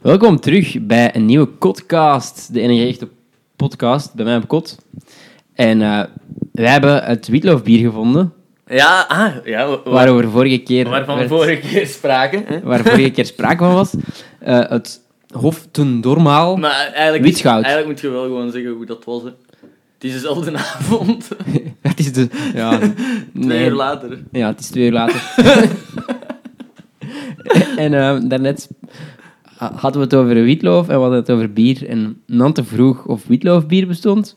Welkom terug bij een nieuwe podcast, de enige echte podcast bij mij op kot. En eh, wij hebben het witloofbier gevonden, Ja, ah, ja wa- wa- waarover vorige keer, waarvan werd- vorige keer spraken. hè? waar vorige keer sprake van was. Eh, het Hof ten Dormaal. Maar eigenlijk, Wit goud. eigenlijk moet je wel gewoon zeggen hoe dat was. Hè. Het is dezelfde avond, het is de... Ja, twee nee. uur later. Ja, het is twee uur later. en ehm, daarnet ha- hadden we het over witloof en we hadden het over bier. En Nante vroeg of witloofbier bestond.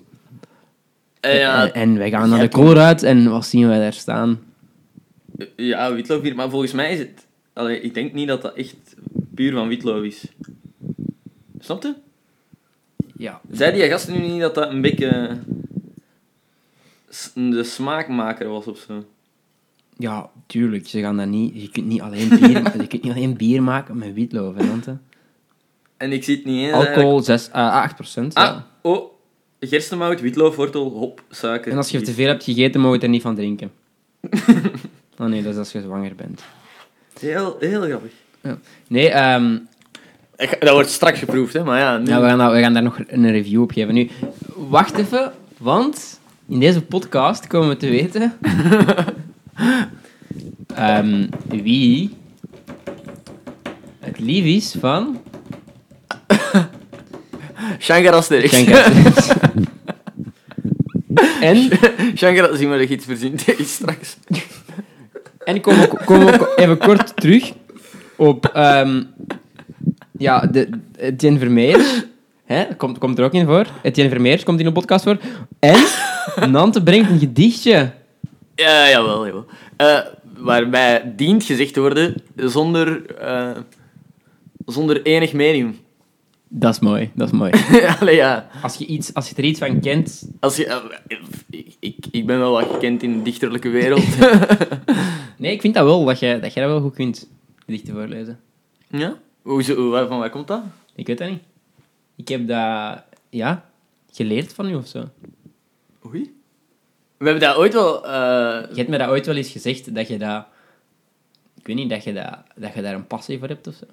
Eh, ja, En, en wij gaan naar jij de hebt- kolder uit en wat zien wij daar staan? ja, witloof hier, maar volgens mij is het... Allee, ik denk niet dat dat echt puur van witloof is. Snap je? Ja. Zei die gasten nu niet dat dat een beetje... s- De smaakmaker was of zo. Ja, tuurlijk. Ze gaan dat niet... Je kunt niet alleen bier, je kunt niet alleen bier maken met witloof, hè, Nante. En ik zie het niet eens. eigenlijk. Alcohol 6, à 8 procent. Ah, oh. Gerstenmout, witloofwortel, hop, suiker. En als je gist. te veel hebt gegeten, mag je er niet van drinken. Oh nee, dat is als je zwanger bent. Heel, heel grappig. Nee, ehm, Ik- Dat wordt straks geproefd, hè? Maar ja, nu... Ja, we gaan, daar- we gaan daar nog een review op geven. Nu, wacht even, want in deze podcast komen we te weten ehm, wie het lief is van Shankar Asterix. Shankar. en Shankar, zien we dat je iets verzint is straks. en komen we, komen we even kort terug op ehm, ja, de, Etienne Vermeers. Hè, komt, komt er ook in voor. Etienne Vermeers komt in de podcast voor. En Nante brengt een gedichtje. Ja, jawel, jawel. Eh, waarbij dient gezegd te worden zonder, eh, zonder enig medium. Dat is mooi, dat is mooi. Allee, ja. Als je, iets, als je er iets van kent, Als je, eh, ik- ik, ik ben wel wat gekend in de dichterlijke wereld. nee, ik vind dat wel, dat jij dat, jij dat wel goed kunt, gedichten voorlezen. ja? Hoezo, waar- van waar komt dat? Ik weet dat niet. Ik heb dat, ja, geleerd van u of zo. Oei. We hebben dat ooit wel... eh, Je hebt me dat ooit wel eens gezegd, dat je dat, ik weet niet, dat je, dat, dat je daar een passie voor hebt of zo.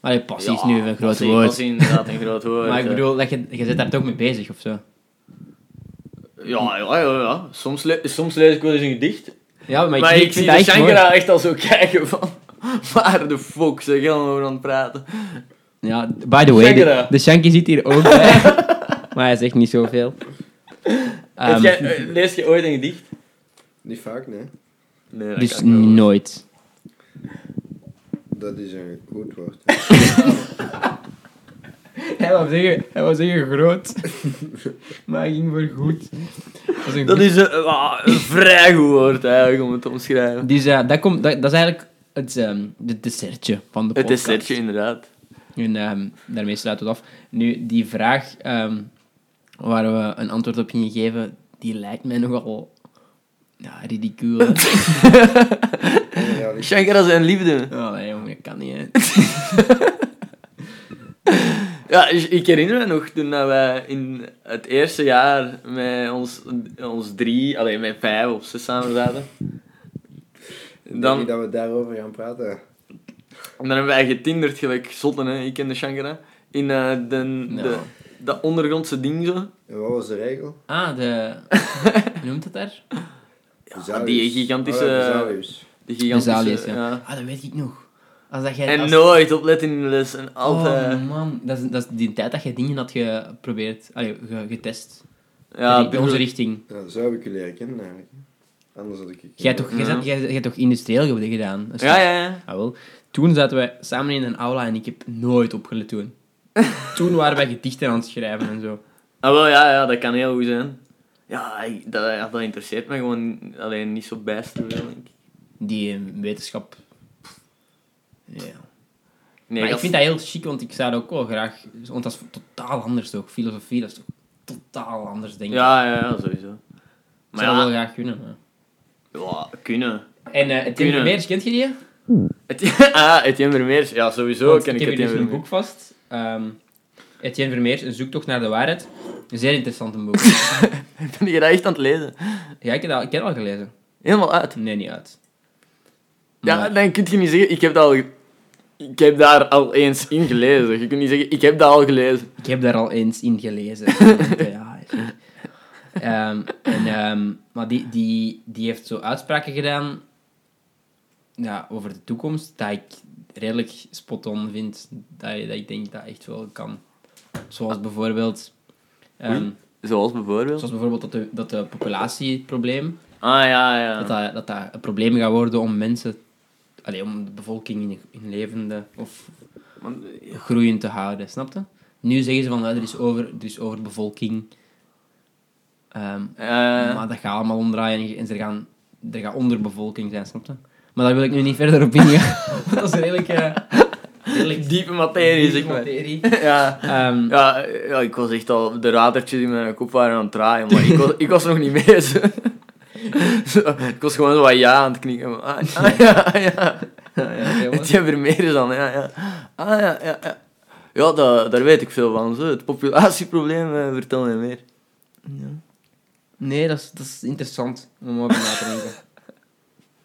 Allee, passie is ja, nu een groot passie- woord. passie is inderdaad een groot woord. Maar ik eh. bedoel, dat je, je zit daar toch mee bezig of zo. Ja, ja, ja. ja. Soms, le- soms lees ik wel eens een gedicht. Ja, maar Maar, ik, ik, ik zie vind de dat echt mooi. Shankara echt al zo kijken van... Waar de fuck zeg je allemaal over aan het praten? Ja, by the way, de, Shankara. de Shanky zit hier ook bij. maar hij zegt niet zoveel. Heb Ehm, jij- eh, lees je ooit een gedicht? Niet vaak, nee. Nee, dus nooit. Dat is een goed woord. hè. Hij was zeggen, hij was zeggen groot. maar hij ging voor goed. Dat is een Dat goed- is een, ah, een vrij goed woord eigenlijk om het te omschrijven. Dus eh, dat, komt, dat, dat is eigenlijk het, ehm het dessertje van de Het podcast. dessertje inderdaad. En ehm, daarmee sluiten we het af. Nu, die vraag ehm, waar we een antwoord op gingen geven, die lijkt mij nogal ja, ridicuul. hè. Onrealistisch. Shankara zijn liefde. oh nee, jongen, dat kan niet. Hè. Ja, ik ik herinner me nog toen dat wij in het eerste jaar met ons, ons drie, alleen met vijf of zes samen zaten. Ik Dan- denk niet dat we daarover gaan praten. En dan hebben wij getinderd, gelijk zotten, hè. Ik ken de Shankara. In eh, de, Ja. de, dat ondergrondse ding zo. En wat was de regel? Ah, de... Hoe noemt het daar? Vesalius. die gigantische- Oh, ja, Vesalius. De Vesalius, gigantische... ja. ja. Ah, dat weet ik nog. Als dat jij, En als- nooit opletten in de les en altijd. Oh man, dat is, dat is die tijd dat je dingen had geprobeerd, allee, ge- getest. ja, in onze richting. Ja, zo heb ik je leren kennen eigenlijk. Anders had ik je Jij hebt toch, jij Ja. zat- jij- jij hebt toch industrieel ge- gedaan? Een Ja, stuk? ja, ja. Ah, wel. Toen zaten wij samen in een aula en ik heb nooit opgelet toen. Toen waren wij gedichten aan het schrijven en zo. Ah, wel, ja, ja, dat kan heel goed zijn. Ja, ik- dat, ja, dat interesseert me gewoon alleen niet zo bijster veel, denk ik. Die eh, wetenschap. Ja. Nee, maar ik gast. vind dat heel chic, want ik zou dat ook wel graag. Want dat is totaal anders toch? Filosofie, dat is toch totaal anders, denk ik. Ja, ja, ja, sowieso. ik Maar zou dat ja, wel graag kunnen. Maar... ja, kunnen. En eh het Kunnen. Vermeers, kent je die? Het, ah, Etienne Vermeers. Ja, sowieso Want ken ik heb hier Etienne dus een Vermeers. boek vast. Ehm Etienne Vermeers, Een zoektocht naar de waarheid. Een zeer interessant een boek. Ben je dat echt aan het lezen? ja, ik heb dat ik heb dat al gelezen. Helemaal uit. Nee, niet uit. Ja, Maar- dan kun je niet zeggen, ik heb dat al... ge- Ik heb daar al eens in gelezen. Je kunt niet zeggen, ik heb dat al gelezen. Ik heb daar al eens in gelezen. Want, eh, ja, Ehm, en, ehm, maar die, die, die heeft zo uitspraken gedaan ja, over de toekomst, dat ik redelijk spot-on vind. Dat, je- dat ik denk dat echt wel kan. Zoals bijvoorbeeld... ehm, Oei. Zoals bijvoorbeeld. zoals bijvoorbeeld dat de, dat de populatieprobleem, Ah ja, ja. dat, dat, dat dat een probleem gaat worden om mensen... Allee, om de bevolking in, in levende of Want, groeiend te houden, snapte? Nu zeggen ze van "Ah, er is, over, er is overbevolking. Ehm, eh, Maar dat gaat allemaal omdraaien en- en er, gaan, er gaat onderbevolking zijn, snapte? Maar daar wil ik nu niet verder op ingaan. want dat is een redelijk. eh redelijk diepe materie, zeg diepe maar. materie. Ja. Ehm, Ja, eh, ja, ik was echt al... De radertjes in mijn kop waren aan het draaien, maar ik was, ik was nog niet mee. Zo. Zo, ik was gewoon zo wat ja aan het knikken. maar, Ah, ah, ja, ah, ja. Ah, ja. jongen. Het Vermeer is dan, ja, ja. Ah, ja, ja, ja. Ja, da- daar weet ik veel van. Zo. Het populatieprobleem, eh, vertel me meer. Ja. nee, dat is, dat is interessant om over na te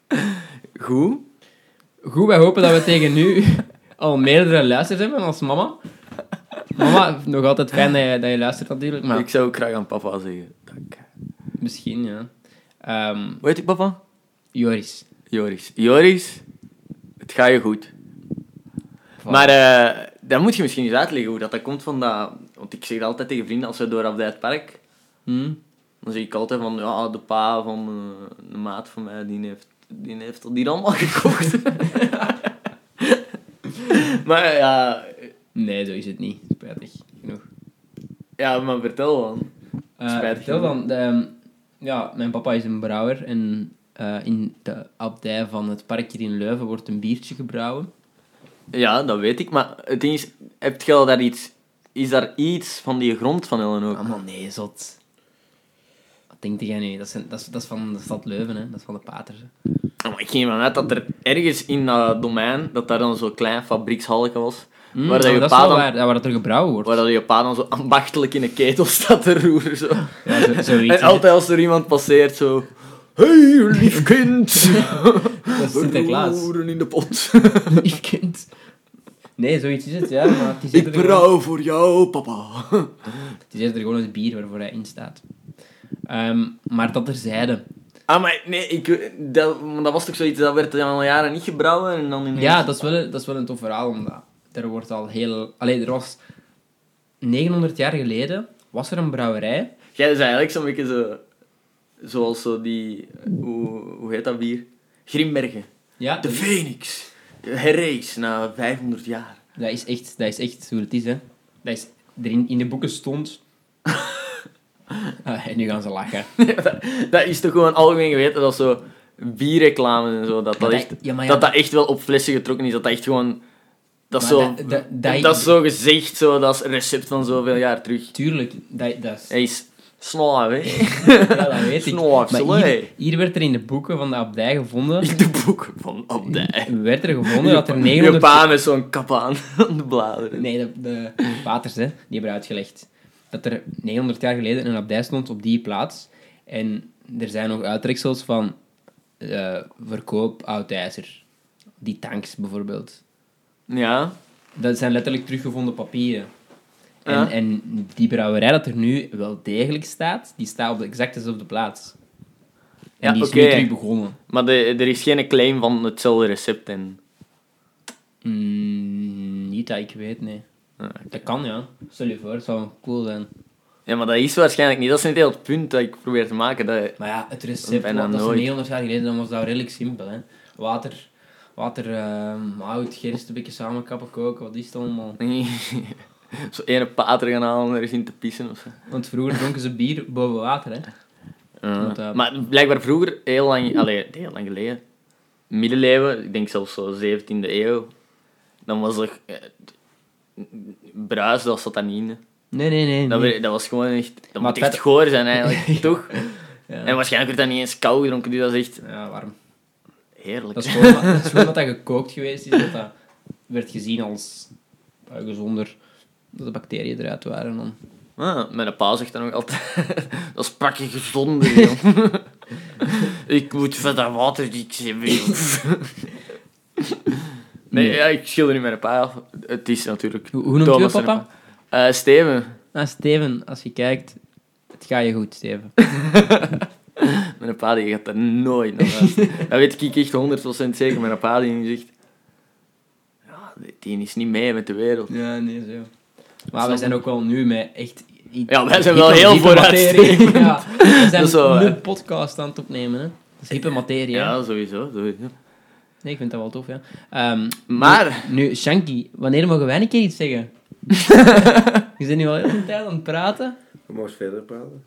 denken. Goed. Goed, wij hopen dat we tegen nu al meerdere luisteraars hebben als mama. Mama, nog altijd fijn dat je, dat je luistert natuurlijk, maar Ik zou ook graag aan papa zeggen. Dank. misschien, ja. Ehm, Hoe heet ik papa? Joris. Joris. Joris, het gaat je goed. Maar eh dan moet je misschien eens uitleggen hoe dat, dat komt van dat... Want ik zeg dat altijd tegen vrienden als we door Afdij het park... Hm? Dan zeg ik altijd van, ja, de pa van eh, de maat van mij, die heeft, die heeft dat hier allemaal gekocht. maar eh, ja, Nee, zo is het niet. Spijtig genoeg. ja, maar vertel dan. Eh, Spijtig vertel genoeg. dan. de, ehm, ja, mijn papa is een brouwer en eh, in de abdij van het park hier in Leuven wordt een biertje gebrouwen. Ja, dat weet ik, maar het ding is, heb je al daar iets... Is daar iets van die grond van Ellen ook? Ah, man, nee, zot. Wat denk jij nu? Dat is, dat, is, dat is van de stad Leuven, hè? Dat is van de paters. hè. Ja, Maar Nou, ik ging ervan uit dat er ergens in dat domein, dat daar dan zo'n klein fabriekshalletje was, Mm, waar, dat oh, je dat is pa wel dan, waar, ja, waar dat er gebrouwen wordt. waar dat je pa dan zo ambachtelijk in een ketel staat te roeren. Zo. Ja, zo, zoiets. En hè. altijd als er iemand passeert, zo... Hey, lief kind! Dat is Sinterklaas. Roeren in de pot. Lief kind. Nee, zoiets is het, ja. Maar het is Ik eerder gewoon, brouw voor jou, papa. het is eerder gewoon het bier waarvoor hij in staat. Ehm, maar dat terzijde. Ah, maar nee, ik, dat, maar dat was toch zoiets, dat werd al jaren niet gebrouwen en dan ineens... Ja, dat is, wel, een- dat is wel een tof verhaal, omdat er wordt al heel... Allee, er was... 900 jaar geleden was er een brouwerij. Jij is eigenlijk zo'n beetje zo... Zoals zo die... Hoe, hoe heet dat bier? Grimbergen. Ja, De Phoenix. Herrees na 500 jaar. dat is echt, dat is echt hoe het is, hè. Dat is... Er in, in de boeken stond... Ah, en nu gaan ze lachen. dat is toch gewoon algemeen geweten dat zo bierreclames en zo, dat Maar dat, echt, dat- ja, maar ja, dat, dat echt wel op flessen getrokken is. Dat dat echt gewoon... Dat is Maar zo... dat- dat- dat- dat is zo gezegd, zo, dat is een recept van zoveel jaar terug. Tuurlijk, dat, dat is... Hij is snel hè? Ja, dat weet ik. Snor, Maar hier, slay. hier werd er in de boeken van de abdij gevonden... In de boeken van Abdij. Werd er gevonden dat er Je 900... pa met zo'n kap aan aan de bladeren. Nee, de, de paters, hè, die hebben uitgelegd dat er 900 jaar geleden een abdij stond op die plaats. En er zijn nog uittreksels van eh, verkoop oud ijzer. Die tanks bijvoorbeeld. Ja. Dat zijn letterlijk teruggevonden papieren. En, Ja. en die brouwerij dat er nu wel degelijk staat, die staat op de exact dezelfde plaats. En Ja, die is oké. nu terug begonnen. Maar de, er is geen claim van hetzelfde recept en... Mm, niet dat ik weet, nee. Ah, Dat kan, ja. Stel je voor, het zou cool zijn. Ja, maar dat is waarschijnlijk niet. Dat is niet heel het punt dat ik probeer te maken. Dat... Maar ja, het recept, Bijna want dat is nooit. 900 jaar geleden, dan was dat redelijk simpel. Hè. Water, water ehm, hout, gerst een beetje samenkappen, koken, wat is het allemaal? Zo ene pater gaan halen om ergens in te pissen of zo. Want vroeger dronken ze bier boven water, hè. Want, eh, Maar blijkbaar vroeger, heel lang, allee, heel lang geleden, middeleeuwen, ik denk zelfs zo 17e eeuw, dan was er... eh, bruis, dat zat daar niet in. hè. Nee, nee, nee. Dat, nee. we- dat was gewoon echt... Dat Maar moet echt dat- goor zijn eigenlijk, toch? Ja. En waarschijnlijk werd dat niet eens koud gedronken, dus dat is echt Ja, warm. heerlijk. Dat is gewoon, dat is gewoon dat dat gekookt geweest is, dat dat werd gezien als eh, gezonder, dat de bacteriën eruit waren. Dan. Ah, mijn pa zegt dan ook altijd... dat is pakje gezonder, joh. ik moet van dat water die ik ze wil. Nee, Nee. Ja, ik schilder niet met een paai af. Het is natuurlijk Hoe, hoe noemt je Thomas en papa? een paai. Eh, Steven, Ah, Steven, als je kijkt, het gaat je goed, Steven. met een pa die gaat daar nooit naar luisteren. Dat weet ik echt 100% zeker. Met een pa die zegt... Ja, die is niet mee met de wereld. Ja, nee, zo. Maar Snap wij je? zijn ook wel nu met echt... i- Ja, wij zijn wel hippe- heel hippe materie. vooruitstekend. Ja, we zijn is wel, nu hè. een podcast aan het opnemen, hè. Dat is hippe materie, hè. Ja, sowieso. sowieso. Nee, ik vind dat wel tof, ja. Ehm, Maar- Nu, nu, Shanky, wanneer mogen wij een keer iets zeggen? Je bent nu al heel de tijd aan het praten. Je mag verder praten.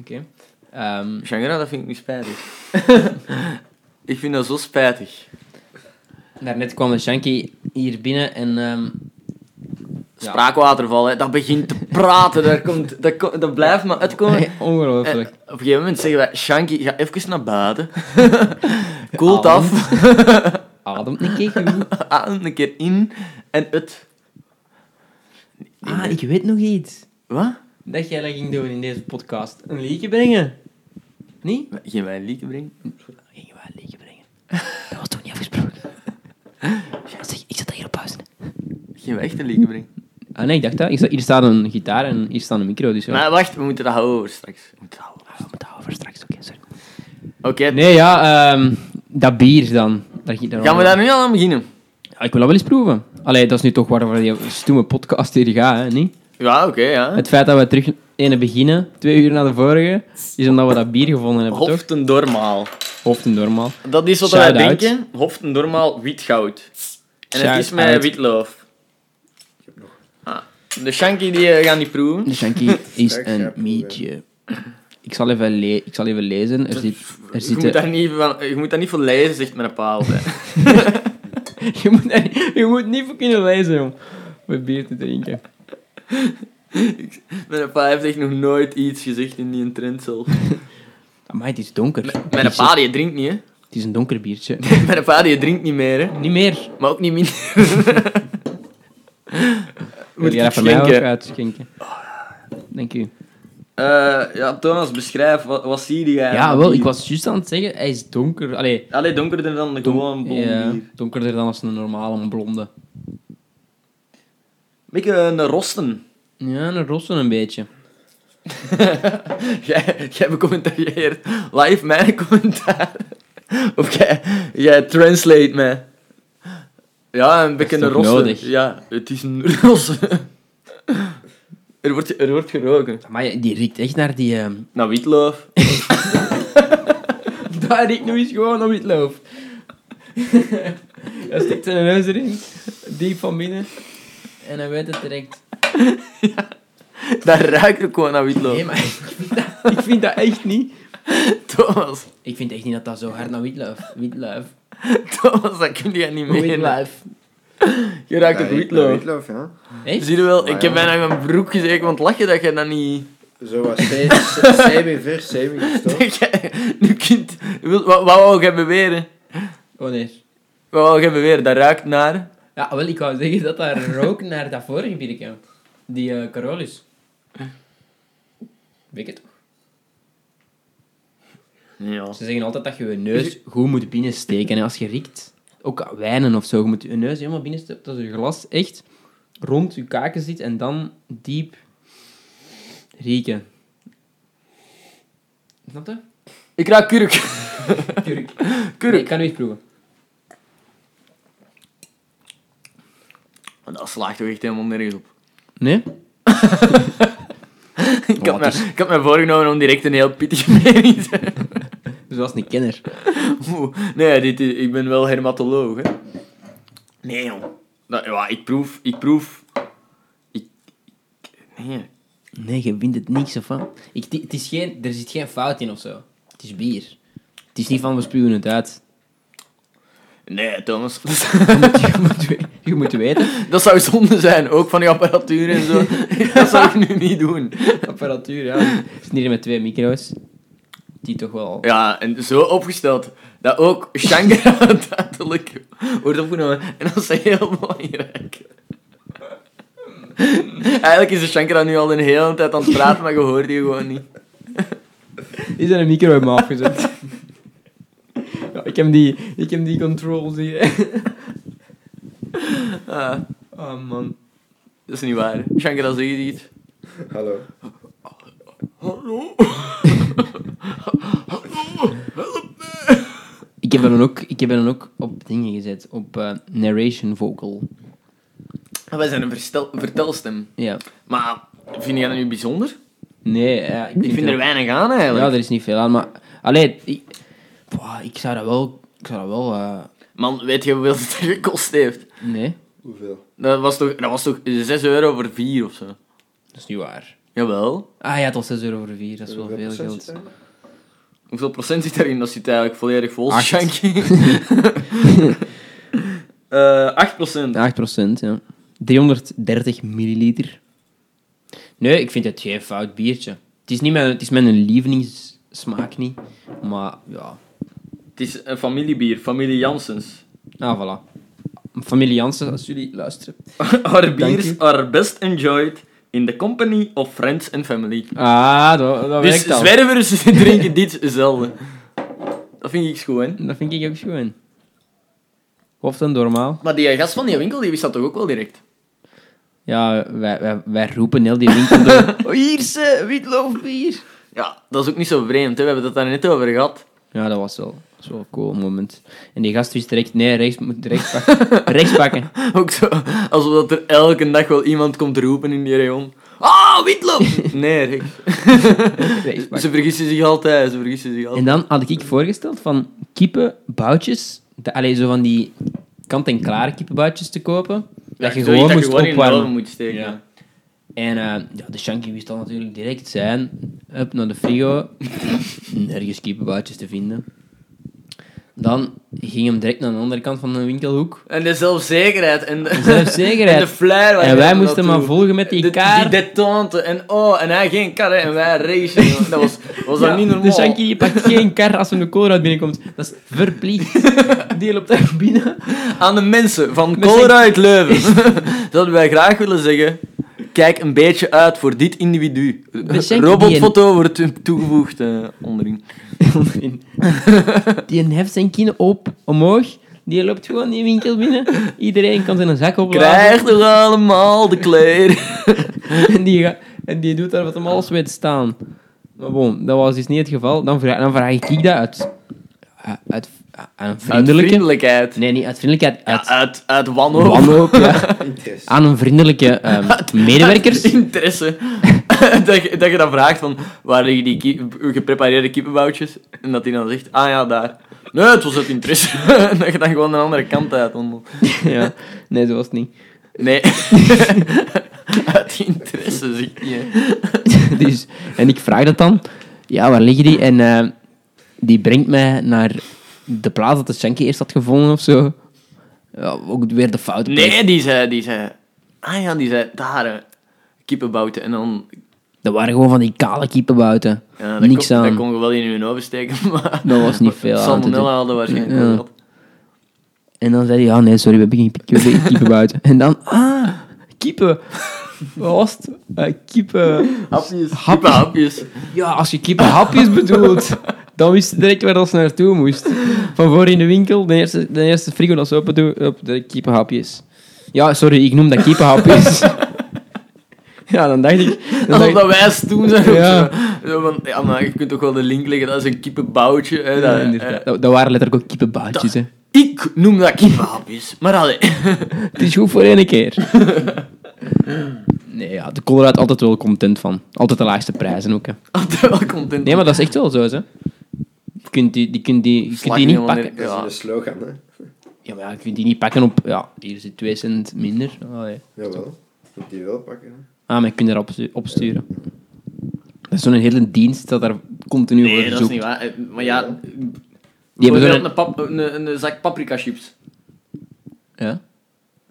Oké. Ehm, Shangri-La, dat vind ik nu spijtig. ik vind dat zo spijtig. daarnet kwam de Shanky hier binnen en... ehm, Ja. Spraakwaterval, hè. dat begint te praten. Dat, komt, dat, ko- dat blijft maar uitkomen. En Ongelooflijk. op een gegeven moment zeggen wij, Shanky, ga even naar buiten. Koelt Adem. af. Ademt een keer genoeg. Adem een keer in en uit. Ah, ik weet nog iets. Wat? Dat jij dat ging doen in deze podcast. Een liedje brengen. Niet? Geen wij een liedje brengen? Gingen wij een liedje brengen. Dat was toen niet afgesproken. Ja, zeg, ik zat hier op pauze. Geen wij echt een liedje brengen? Ah nee, ik dacht dat. Ik sta- hier staat een gitaar en hier staat een micro, dus ja. Maar wacht, we moeten dat houden over straks. We moeten dat houden. Ah, we moeten houden voor straks, oké, sorry. Oké, Nee, ja, ehm, dat bier dan. Dat ging daar gaan we daar nu al aan beginnen? Ja, ik wil dat wel eens proeven. Allee, dat is nu toch waarvoor die stoeme podcast hier gaat, hè, niet? Ja, oké, ja. Het feit dat we terug ene beginnen, twee uur na de vorige, is omdat we dat bier gevonden hebben, toch? Hoften Dormaal. Hoofd en normaal. Dat is wat wij Shout-out. denken. Hoften Dormaal wit goud. En het is met Shout-out. witloof. Ah, de Shanky die eh, gaan die proeven. De Shanky is Straks een gaat proeven. mietje. Ik zal even, le- ik zal even lezen. Er zit... Er Je moet, zitten... daar niet van, je moet daar niet voor lezen, zegt mijn paal. je, moet daar niet- je moet niet voor kunnen lezen, jong. Om een bier te drinken. Mijn pa heeft echt nog nooit iets gezegd in die trend zelf. Amai, het is donker. Het Mijn is- pa die drinkt niet, hè. Het is een donker biertje. Mijn pa die drinkt niet meer, hè. niet meer. Maar ook niet minder. Wil Moet jij ik dat voor mij ook eh? schenken? uitschenken? Dank u. Eh, ja, Thomas, beschrijf, wat, wat zie jij? Ja, wel, ik was juist aan het zeggen, hij is donker. Allee, Allee, donkerder dan de gewoon blond ja, bier. donkerder dan als een normale blonde. Beetje een rosten. Ja, een rosse een beetje. jij, jij becommentarieert live mijn commentaar. Of jij, jij translate mij. Ja, een beetje is een toch rossen. nodig? Ja, het is een rossen. er, wordt, er wordt geroken. Maar die riekt echt naar die... ehm, Nou, witloof. Daar riekt nu eens gewoon op witloof. hij stikt zijn neus erin, diep van binnen. En hij weet het direct. Daar ruikt ook gewoon naar witloof. Nee, maar ik vind dat, ik vind dat echt niet. Thomas, Ik vind echt niet dat dat zo hard naar witloof. Witloof. Thomas, dat kun jij niet meer. Witloof. Je ruikt ook Ja, witloof. Witloof, ja. Echt? Zie je wel, ik Maar heb ja. bijna mijn broek gezeken, want lach je dat je dat niet... Zo was semi-vers, semi-gestopt. nu kind... Wat, wat wou jij beweren? Oh nee. Wat wou jij beweren? Dat ruikt naar... Ja, wel, ik wou zeggen dat daar rook naar dat vorige bierke. Die eh Carolus. Weet je toch? Ja. Ze zeggen altijd dat je je neus goed moet binnensteken. hè, als je riekt, ook aan wijnen of zo, je moet je neus helemaal binnensteken. Dat je glas echt rond je kaken zit en dan diep rieken. Snap je? Ik ruik kurk. Kurk. Kurk. Nee, ik kan nu eens proeven. Maar dat slaagt toch echt helemaal nergens op. Nee? ik, wat had me, ik had me voorgenomen om direct een heel pittige mening te hebben. Dus was een kenner. Oeh, Nee, dit is, ik ben wel hermatoloog, hè. Nee, jong. Dat, ja, ik proef... Ik proef... Ik... ik- Nee. Nee, je vindt het niks van. Ik, het- het is geen, er zit geen fout in of zo. Het is bier. Het is niet van we spuwen het uit. Nee, Thomas. Je moet, je moet, we- je moet weten. Dat zou zonde zijn, ook van die apparatuur en zo. dat zou ik nu niet doen. Apparatuur, ja. Het is niet met twee micro's. Die toch wel. Ja, en zo opgesteld dat ook Shangri-La duidelijk wordt opgenomen. En dat is heel belangrijk. Eigenlijk is de Shangri-La nu al een hele tijd aan het praten, maar je hoort die gewoon niet. Is er een micro in me afgezet? ja, ik, heb die, ik heb die controls hier. Ah, Oh man. dat is niet waar. Shankara zeg je niet. Hallo. Hallo? Ik heb dan ook, ik heb dan ook op dingen gezet, op eh, narration vocal. Ah, Wij zijn een verstel- vertelstem. Ja. Maar vind jij dat nu bijzonder? Nee, ja, ik, Ik vind dat- er weinig aan eigenlijk. Ja, er is niet veel aan, maar... Allee, ik, Boah, ik zou dat wel... Ik zou dat wel... eh, Man, weet je hoeveel het er gekost heeft? Nee, Hoeveel? Dat was toch, dat was toch 6 euro voor 4 of zo? dat is niet waar. Jawel. Ah ja, tot 6 euro voor 4, dat is wel Hoeveel veel procent geld. zit daarin? Hoeveel procent zit daarin? Dat zit eigenlijk volledig vol. Acht. Shanky. Eh 8 procent. 8 ja. 330 milliliter. Nee, ik vind het geen fout biertje. Het is, niet mijn, het is mijn lievelingssmaak niet, maar ja... Het is een familiebier, familie Janssens. Ah, voilà. Familie Jansen, als jullie luisteren. Our you. beers are best enjoyed in the company of friends and family. Ah, dat, dat Dus werkt al. zwervers drinken dit zelden. Dat vind ik goed, hè? Dat vind ik ook schoon. Of dan normaal. Maar die gast van die winkel, die wist dat toch ook wel direct? Ja, wij, wij, wij roepen heel die winkel door. Oh, hier, ze, witloofbier. Ja, dat is ook niet zo vreemd, hè? We hebben het daar net over gehad. Ja, dat was wel, dat was wel een cool moment. En die gast wist direct, nee, rechts moet rechts pakken. rechts pakken. Ook zo, alsof dat er elke dag wel iemand komt roepen in die regio. Ah, witloop! Nee, Rick. Rechts pakken. Ze vergissen zich altijd, ze vergissen zich En altijd. dan had ik voorgesteld van kippen, boutjes, de, allee, zo van die kant-en-klare kippenboutjes te kopen. dat je zoiets gewoon dat moest gewoon in de opwarmen. oven moet steken. Ja. En eh, ja, de Shanky wist al natuurlijk direct zijn. Up naar de frigo. Nergens kippenboutjes te vinden. Dan ging hem direct naar de andere kant van de winkelhoek. En de zelfzekerheid en de, zelfzekerheid. en de flair. waar En je wij naartoe- moesten maar volgen met die De- kaart. Die detente en oh, en hij geen kar hè, en wij racen. joh. Dat was, was dat Ja, niet normaal. De Shanky die pakt geen kar als hem de koolruit binnenkomt. Dat is verplicht. Die loopt daar binnen. Aan de mensen van Met Color uit Leuven zouden wij graag willen zeggen: kijk een beetje uit voor dit individu. Shanky Robotfoto wordt toe- toegevoegd eh, onderin. Onderin. Die heft zijn kin op, omhoog. Die loopt gewoon die winkel binnen. Iedereen kan zijn zak opblazen. Krijg toch allemaal de kleren. En die, ga- en die doet daar wat hem alles weet staan. Maar bon, dat was dus niet het geval. Dan vraag, dan vraag ik dat uit, uit, aan een Uit vriendelijke... vriendelijkheid. nee, niet uit vriendelijkheid. Ja, Uit uit, uit wanhoop. wanhoop, ja. Interesse. Aan een vriendelijke ehm, medewerkers. Interesse. dat, je, dat je dan vraagt van waar liggen die ki- geprepareerde kippenboutjes? En dat hij dan zegt, ah ja, daar. Nee, het was uit interesse. En dat je dan gewoon de andere kant uit wandelt. ja. Nee, zo was het niet. Nee. uit interesse, zeg ik niet. hè. dus, en ik vraag dat dan. Ja, waar liggen die? En eh, die brengt mij naar de plaats dat de Shanky eerst had gevonden of zo. Ja, ook weer de foute plek. Nee, die zei, die zei, ah ja, die zei, daar, hè, kippenbouten. En dan, Dat waren gewoon van die kale kippen buiten. ja, dat Niks kon, aan. dat kon je wel in hun oven steken, maar... Dat was niet veel aan te doen. Salmonella hadden waarschijnlijk Ja. wel gehad. En dan zei hij, ja nee, sorry, we hebben geen pik- we hebben geen kippen buiten. En dan, ah, kippen. Wat was het? Eh, kippen. Hapjes. Hap- Kippenhapjes. Ja, als je kippenhapjes bedoelt, dan wist je direct waar dat ze naartoe moest. Van voor in de winkel, de eerste, de eerste frigo dat ze open doet, op de kippenhapjes. Ja, sorry, ik noem dat kippenhapjes. ja, dan dacht ik... Dan dacht Alsof ik- Oh, dat wij stoem zijn. of Ja. Zo. Zo van, ja, maar je kunt toch wel de link leggen, dat is een kippenboutje. Hè, dat, Ja, inderdaad. eh, dat, dat waren letterlijk ook kippenbaantjes, hè. ik noem dat kippenhapjes, maar allee. Het is goed voor één keer. Nee, ja, de Colorado altijd wel content van. Altijd de laagste prijzen ook, hè. Altijd wel content. Nee, maar dat is echt wel zo, hè. Je kunt die, die, kunt die, je kunt Slag die niet helemaal pakken. neer. Dat is Ah, Ja. een slogan, hè? Ja, maar ja, je kunt die niet pakken op... Ja, hier zit 2 cent minder. Allee. Jawel. Moet die wel pakken, hè? Ah, maar je kunt erop stu- opsturen. Dat is zo'n hele dienst dat daar continu Nee, wordt dat is gezocht. niet waar. Eh, Maar ja, Die hebben bijvoorbeeld zo'n... een, pap, een, een zak paprika chips. Ja?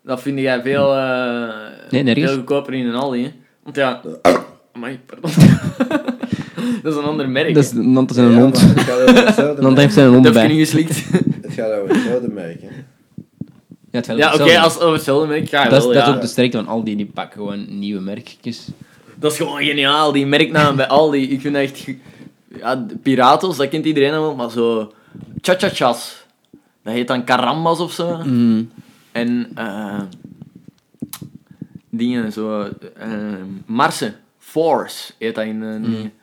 Dat vind jij veel, eh, Nee, nergens. veel goedkoper in een Aldi. Hè? Want ja... Amai, pardon. dat is een ander merk. Dat is, dan is Ja, een maar hond. Het gaat over hetzelfde Dan merk. heeft hij een hond Dat heb je bij. niet geslikt. Het gaat over hetzelfde merk, hè? Ja, het gaat ja, oké, hetzelfde. als het over hetzelfde merk ga je dat, is, wel, dat is ja. ook de sterkte van Aldi. Die pakken gewoon nieuwe merkjes. Dat is gewoon geniaal, die merknaam bij Aldi. Ik vind dat echt... ge- Ja, de Piratos, dat kent iedereen al wel, maar zo... Cha-cha-chas. Dat heet dan Karambas of zo. Mm. En... eh, dingen, zo... eh, Marsen. Force heet dat in... eh, Mm. dingen.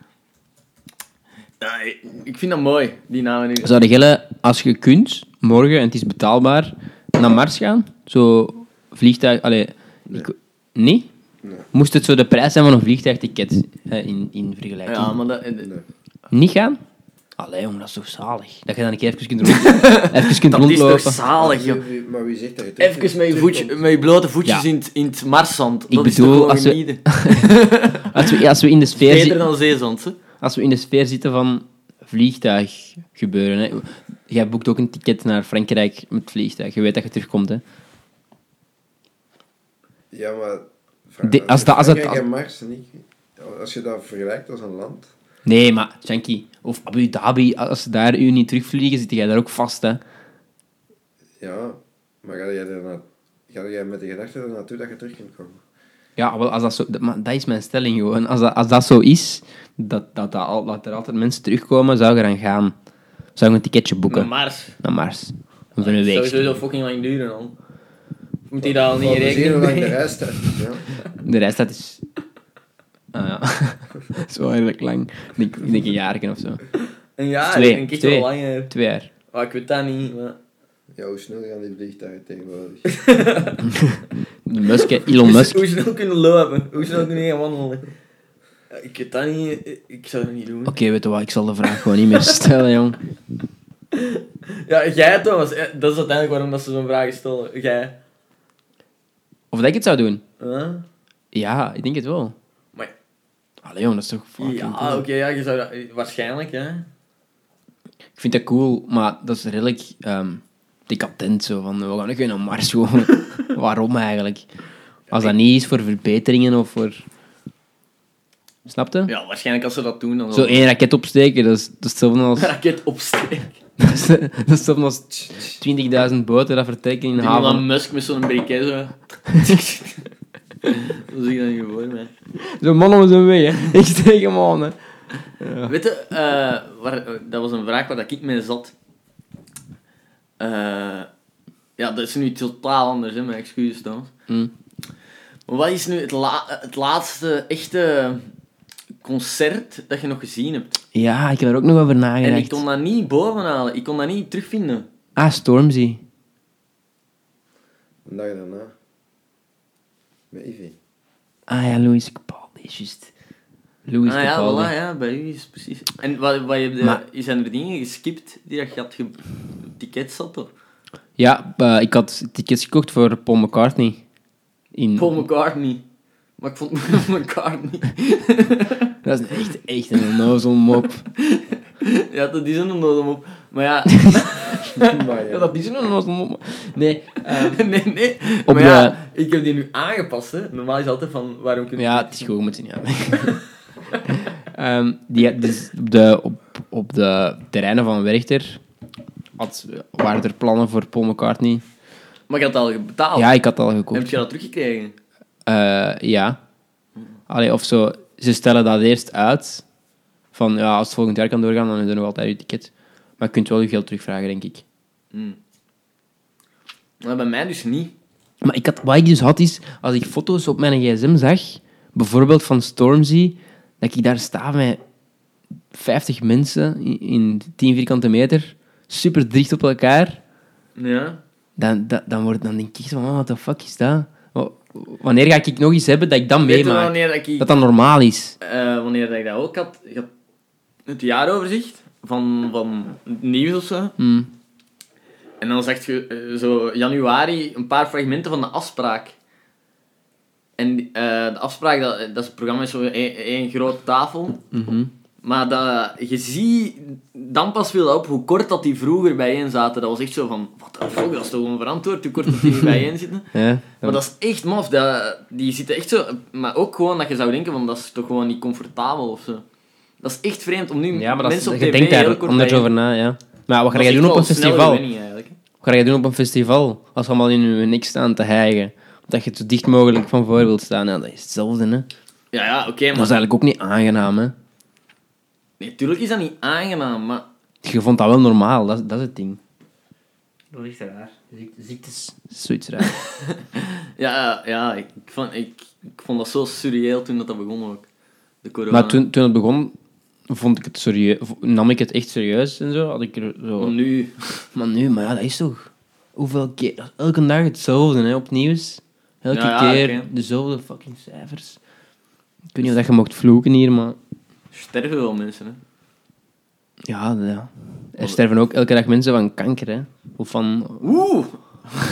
Ja, ik- ik vind dat mooi, die namen nu. Zou Gelle, als je kunt, morgen, en het is betaalbaar, naar Mars gaan? Zo vliegtuig... Allee, ik- nee? Nee. Moest het zo de prijs zijn van een vliegtuigticket hè, in, in vergelijking? Ja, maar dat... eh, Nee. Niet gaan? Allee, jongen, dat is toch zalig? Dat je dan een keer even kunt, rond, even kunt Dat is rondlopen. toch zalig, joh. Maar wie- Maar wie zegt dat je terug- Even met je, voetje, terugkomt? met je blote voetjes Ja. in, het, in het marszand. Dat Ik is bedoel, toch gewoon als we- genieten. Als we, als we in de sfeer Beter zitten... dan zeezand, hè. Als we in de sfeer zitten van vliegtuig gebeuren. Hè. Jij boekt ook een ticket naar Frankrijk met vliegtuig. Je weet dat je terugkomt. Hè. Ja, maar... Frank- De- als dat- als dat- Frankrijk en Mars, niet... Als je dat vergelijkt als een land... Nee, maar Janky, of Abu Dhabi, als ze daar u niet terugvliegen, zit jij daar ook vast. Hè. Ja, maar ga jij, erna, ga jij met de gedachte er naartoe dat je terug kunt komen? Ja, wel, als dat, zo, dat, maar dat is mijn stelling gewoon. Als dat, als dat zo is, dat, dat, dat, al- dat er altijd mensen terugkomen, zou je dan gaan. Zou je een ticketje boeken Naar Mars. naar Mars? Of een Dat zou week. sowieso fucking lang duren, dan. Moet hij daar al niet Laten we zien rekenen hoe lang de mee? reis staat. Ja. De rest, dat is... Ah ja, dat is wel redelijk lang. Ik denk, ik denk een jaar of zo. Een jaar, Twee, denk ik twee. wel langer. Twee jaar. Ah, ik weet dat niet, maar... ja, hoe snel gaan die vliegtuigen tegenwoordig? Musk, hè. Elon Hoe- Musk. Hoe snel kunnen lopen? Hoe snel kunnen gaan wandelen? Ja, Ik weet dat niet, ik- ik zou dat niet doen. Oké, weet je wat, ik zal de vraag gewoon niet meer stellen, jong. Ja, jij Thomas, eh, dat is uiteindelijk waarom dat ze zo'n vraag stellen. Jij. Of dat ik het zou doen? Huh? Ja, ik denk het wel. Maar- Allee, jong, dat is toch fucking Ja, cool. oké, ja, je zou dat... Waarschijnlijk, hè. Ik vind dat cool, maar dat is redelijk ehm decadent, zo van, we gaan ook weer naar Mars, gewoon. Waarom eigenlijk? Als dat niet is voor verbeteringen of voor... Snap je? Ja, waarschijnlijk als ze dat doen, dan... Zo zal- één raket opsteken, dat is, dat is hetzelfde als... raket opsteken. Dat is, dat is hetzelfde als 20.000 boten dat vertrekken in de Die Elon haven. Musk met zo'n briquet zo. Zo zie ik dat niet voor mij. Zo'n man om zijn weg, hè. Ik steek hem aan, hè. Weet je, eh, waar, dat was een vraag waar dat ik mee zat. Eh, ja, dat is nu totaal anders, hè, mijn excuses trouwens. Hm. Maar wat is nu het, la- het laatste echte concert dat je nog gezien hebt? Ja, ik heb er ook nog over En ik nagedacht. kon dat niet bovenhalen, ik kon dat niet terugvinden. Ah, Stormzy. Een dag daarna. Met Ivy. Ah ja, Louis Capaldi, is juist. Louis ah ja, Capaldi. voilà, ja, bij u is het precies. En wat, wat heb je, Maar- zijn er dingen geskipt die dat je had ge- ticket zat toch? Ja, eh, ik had tickets gekocht voor Paul McCartney. In... Paul McCartney. Maar ik vond Paul McCartney... Dat is echt, echt een onnozel mop. ja, dat is een onnozel mop. Maar ja... maar ja, ja. dat is een onnozel mop. Nee, ehm, nee, nee. Op maar ja, ik heb die nu aangepast, hè. Normaal is altijd van, waarom kun je... ja, het is gewoon met z'n jaar. Ehm, die, dus op, de, op, op de terreinen van Werchter had, waren er plannen voor Paul McCartney. Maar je had al betaald. Ja, ik had al gekocht. Heb je dat teruggekregen? Eh, ja. Allee, of zo. Ze stellen dat eerst uit. Van, ja, als het volgend jaar kan doorgaan, dan is er nog altijd je ticket. Maar je kunt wel je geld terugvragen, denk ik. Maar bij mij dus niet. Maar ik had, wat ik dus had, is... Als ik foto's op mijn gsm zag, bijvoorbeeld van Stormzy, dat ik daar sta met 50 mensen in, in 10 vierkante meter, super dicht op elkaar, Ja. dan, dan, dan, word, dan denk ik zo van, oh, what the fuck is dat? Wa- Wanneer ga ik nog iets hebben dat ik dat Weet je meemaak? wanneer dat ik... Dat dat normaal is. eh, wanneer dat ik dat ook had... Ik had het jaaroverzicht van, van het nieuws of zo. Mm. En dan zegt je eh, zo januari een paar fragmenten van de afspraak. En die- eh, de afspraak, dat, dat is het programma is zo één één grote tafel. Mhm. Maar dat, je ziet, dan pas viel dat op hoe kort dat die vroeger bijeen zaten. Dat was echt zo van, wat de fuck, dat is toch onverantwoord hoe kort dat die nu bijeen zitten. Ja. Maar dat is echt maf, dat, die zitten echt zo... Maar ook gewoon dat je zou denken, van, dat is toch gewoon niet comfortabel of zo. Dat is echt vreemd om nu Ja, maar dat is, mensen op je tv denkt daar heel kort anders bijeen- over na, ja. Maar wat ga Dat jij is doen echt op wel een snelle festival? Wat winning eigenlijk. ga jij doen op een festival? Als je allemaal in hun nek staan te hijgen. Dat je het zo dicht mogelijk van voor wilt staan. Ja, dat is hetzelfde, hè. Ja, ja, oké, Dat maar... is eigenlijk ook niet aangenaam, hè. Natuurlijk is dat niet aangenaam, maar... Je vond dat wel normaal, dat, is- dat is het ding. Dat is echt raar. Ziekte, ziektes. Zoiets raar. Ja, ja ik, ik vond, ik, ik vond dat zo surreëel toen dat, dat begon ook. De corona. Maar toen, toen het begon, vond ik het serieus, nam ik het echt serieus en zo. Had ik er zo... Maar nu... Maar nu, maar ja, dat is toch... Hoeveel keer... dat is Elke dag hetzelfde, hè, opnieuw. Elke Ja, ja, keer oké. dezelfde fucking cijfers. Ik weet niet of dat je mocht vloeken hier, maar... Sterven wel mensen, hè. Ja, ja. Er sterven ook elke dag mensen van kanker, hè. Of van... Oeh! Wa-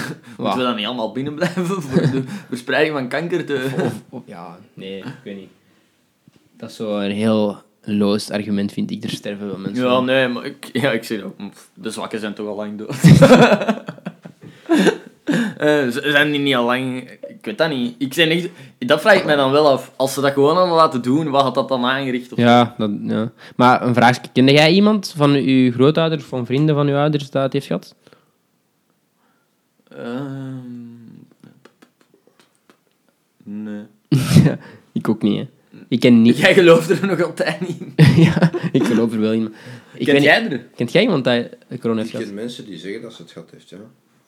Moeten we dan niet allemaal binnen blijven voor de verspreiding van kanker te... Of, of- ja, nee, ik weet niet. Dat is zo'n heel loos argument, vind ik. Er sterven wel mensen. Ja, van. nee, maar ik, ja, ik zeg dat. pff, De zwakken zijn toch al lang dood. Eh, ze zijn die niet al lang... Ik weet dat niet. Ik zeg echt, dat vraag ik mij dan wel af. Als ze dat gewoon hadden laten doen, wat had dat dan aangericht? Of... Ja, dat, ja. Maar een vraagje. Kende jij iemand van uw grootouders, van vrienden van uw ouders, dat het heeft gehad? Ehm, nee. ik ook niet, hè. Ik ken niet... Jij gelooft er nog altijd niet in. ja, ik geloof er wel in. maar Ik Kent weet jij er? niet- Kent jij iemand dat corona heeft Ik gehad? ken mensen die zeggen dat ze het gat heeft, ja.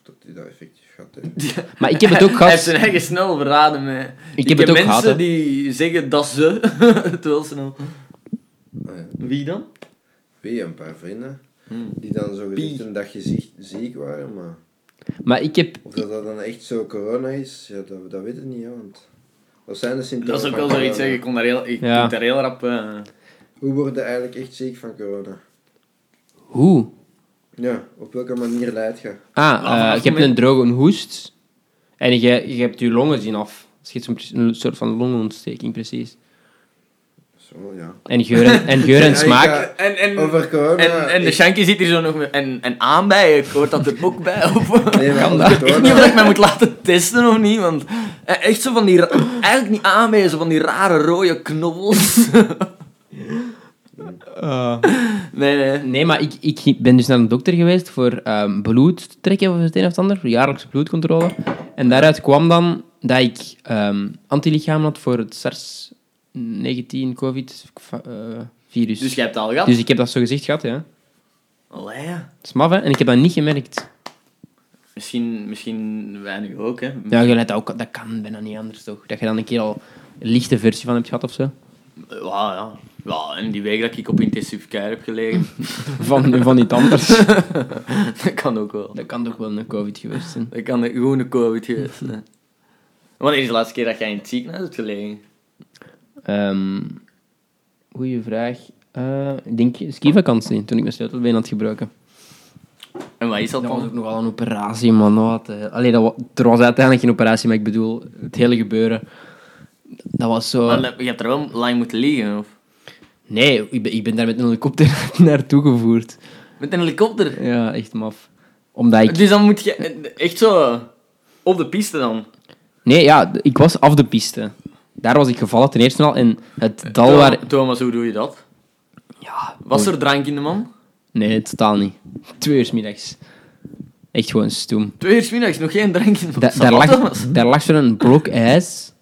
Dat die dat effectief gat heeft. Maar ik heb het ook Hij heeft gehad... zijn eigen snel verraden, mee. Ik heb het ook mensen gehad, hè. die zeggen dat ze, terwijl ze nou... Ah, ja. Wie dan? Wie, een paar vrienden, Hmm. die dan zo gezegd een dagje ziek, ziek waren, maar... Maar ik heb... Of dat dat dan echt zo corona is, ja, dat, dat weet ik niet, ja, want... Wat zijn de symptomen Dat is ook van wel zoiets, hè. corona? Ik kon daar heel, ik Ja. kon daar heel rap... eh, Hoe word je eigenlijk echt ziek van corona? Hoe? Ja, op welke manier leidt je? Ah, vanaf eh, het je hebt moment- een droge hoest. En je, je hebt je longen zien af. Dus je hebt zo'n pre- een soort van longontsteking, precies. Zo, ja. En geur en, en, geur en Ja, smaak. ik, En, en, eh, over corona... en, en de ik- Shanky zit hier zo nog met... En, en aanbijen, hoort dat er ook bij? Of, Nee, maar Kan over dat? ik weet niet corona... of ik mij moet laten testen of niet, want... eh, Echt zo van die... ra- Eigenlijk niet aanbijen, zo van die rare rode knobbels. Ah. nee, nee. Nee, maar ik, ik ben dus naar een dokter geweest voor ehm, bloed te trekken of het een of het ander, voor jaarlijkse bloedcontrole. En daaruit kwam dan dat ik ehm antilichamen had voor het SARS-19 COVID-virus. Dus jij hebt het al gehad? eh, Dus ik heb dat zo gezegd gehad, ja. Allee, ja. Dat is maf, hè? En ik heb dat niet gemerkt. Misschien, misschien weinig ook, hè. Ja, je leidt dat, ook, dat kan bijna niet anders, toch? Dat je dan een keer al een lichte versie van hebt gehad of zo. Eh, Ja, ja. Ja, en die week dat ik op intensive care heb gelegen, Van, van iets anders. dat kan ook wel. Dat kan toch wel een COVID geweest zijn. Dat kan de gewone COVID geweest zijn. Wanneer is de laatste keer dat jij in het ziekenhuis hebt gelegen? Ehm goeie vraag. Eh, ik denk skivakantie, toen ik mijn sleutelbeen had gebroken. En wat is dat Dat was ook dan? nogal een operatie, man. Oh, wat, eh. Allee, dat wa- er was uiteindelijk geen operatie, maar ik bedoel, het hele gebeuren. Dat was zo... Maar Je hebt er wel lang moeten liggen, of? Nee, ik ben, ik ben daar met een helikopter naartoe gevoerd. Met een helikopter? Ja, echt maf. Omdat ik... Dus dan moet je eh, echt zo... Op de piste dan? Nee, ja, d- ik was af de piste. Daar was ik gevallen ten eerste al. En het dal waar... Thomas, hoe doe je dat? Ja, Was er drank in de man? Nee, totaal niet. Twee uur 's middags. Echt gewoon stoem. Twee uur 's middags, nog geen drank in de Da- man. daar, Wat, lag, Thomas? daar lag zo'n blok ijs.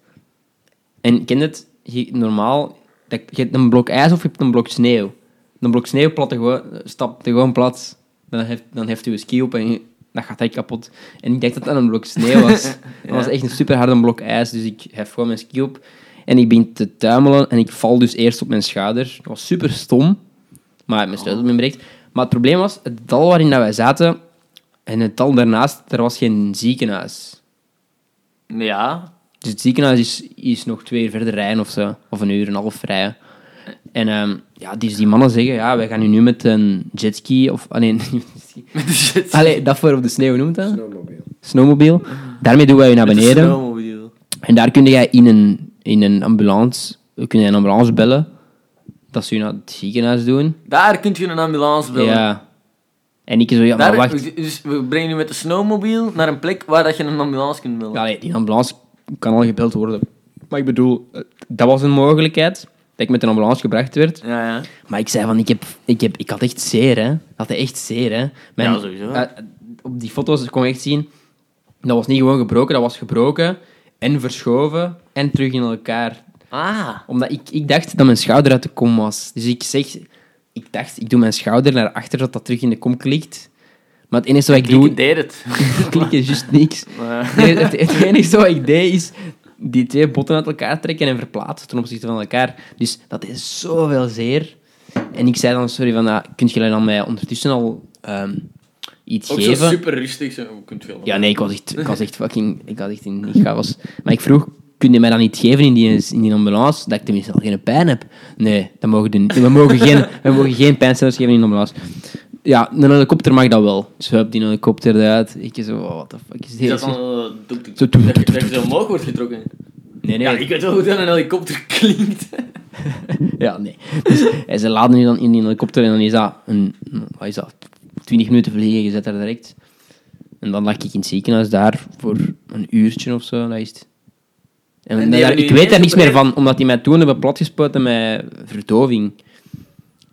En kent het? Je, normaal, dat, je hebt een blok ijs of je hebt een blok sneeuw. Een blok sneeuw platte gewoon, stapt gewoon plat. Dan heeft, dan heeft je een ski op en je- dat gaat echt kapot. En ik dacht dat dat een blok sneeuw was. Dat was echt een super harde blok ijs, dus ik hef gewoon mijn ski op. En ik begin te tuimelen en ik val dus eerst op mijn schouder. Dat was super stom, maar mijn sleutelbeen breekt. Maar het probleem was, het dal waarin dat wij zaten en het dal daarnaast, er was geen ziekenhuis. Ja. Dus het ziekenhuis is, is nog twee uur verder rijden of zo. Of een uur en een half rijden. En ehm, ja, dus die mannen zeggen, ja, wij gaan u nu met een jetski of... Ah, nee, niet met een ski. Met de shit. Allee, dat voor op de sneeuw noemt dat? Snowmobile. Snowmobile. Daarmee doen wij u naar Met de beneden. snowmobile. En daar kun je in een, in een ambulance... Kun je een ambulance bellen. Dat ze u naar het ziekenhuis doen. Daar kun je een ambulance bellen. Ja. En ik zo, ja, maar Daar, wacht. Dus we brengen je met de snowmobile naar een plek waar dat je een ambulance kunt bellen. Ja, nee, die ambulance kan al gebeld worden. Maar ik bedoel, eh, dat was een mogelijkheid. Dat ik met een ambulance gebracht werd. Ja, ja. Maar ik zei van, ik, heb, ik, heb, ik had echt zeer, hè. Ik had echt zeer, hè. Ja, sowieso. eh, op die foto's kon je echt zien, dat was niet gewoon gebroken, dat was gebroken en verschoven en terug in elkaar. Ah. Omdat ik, ik dacht dat mijn schouder uit de kom was. Dus ik zeg, ik dacht, ik doe mijn schouder naar achter, dat dat terug in de kom klikt. Maar het enige wat ik Ik doe, deed het. klinkt is juist niks. Maar- Nee, het, het enige wat ik deed is die twee botten uit elkaar trekken en verplaatsen ten opzichte van elkaar. Dus dat is zoveel zeer. En ik zei dan, sorry, van, ah, kunt jullie dan mij ondertussen al ehm, iets Ook zo geven? super rustig. Zo. Je kunt veel Ja, nee, ik was echt, ik was echt fucking... Ik had echt in, ik was, maar ik vroeg, kun je mij dan niet geven in die, in die ambulance, dat ik tenminste al geen pijn heb? Nee, dat mogen we niet. We mogen geen, we mogen geen pijnstellers geven in de ambulance. Ja, een helikopter mag dat wel. Dus hup, die helikopter eruit. Ik zo, oh, what the fuck is dit? Is dat dan zo... doek, doek, Zo- doek, dat je- dat je zo omhoog wordt getrokken? Nee, nee. Ja, ik weet wel hoe dat een helikopter klinkt. Ja, nee. Dus en ze laden nu dan in die helikopter en dan is dat, een, wat is dat 20 minuten vliegen, je zit daar direct. En dan lag ik in het ziekenhuis daar voor een uurtje of zo, dat is het. En, En die daar- hebben ik jullie weet daar niks meer opgereed? van, omdat die mij toen hebben platgespoten met verdoving.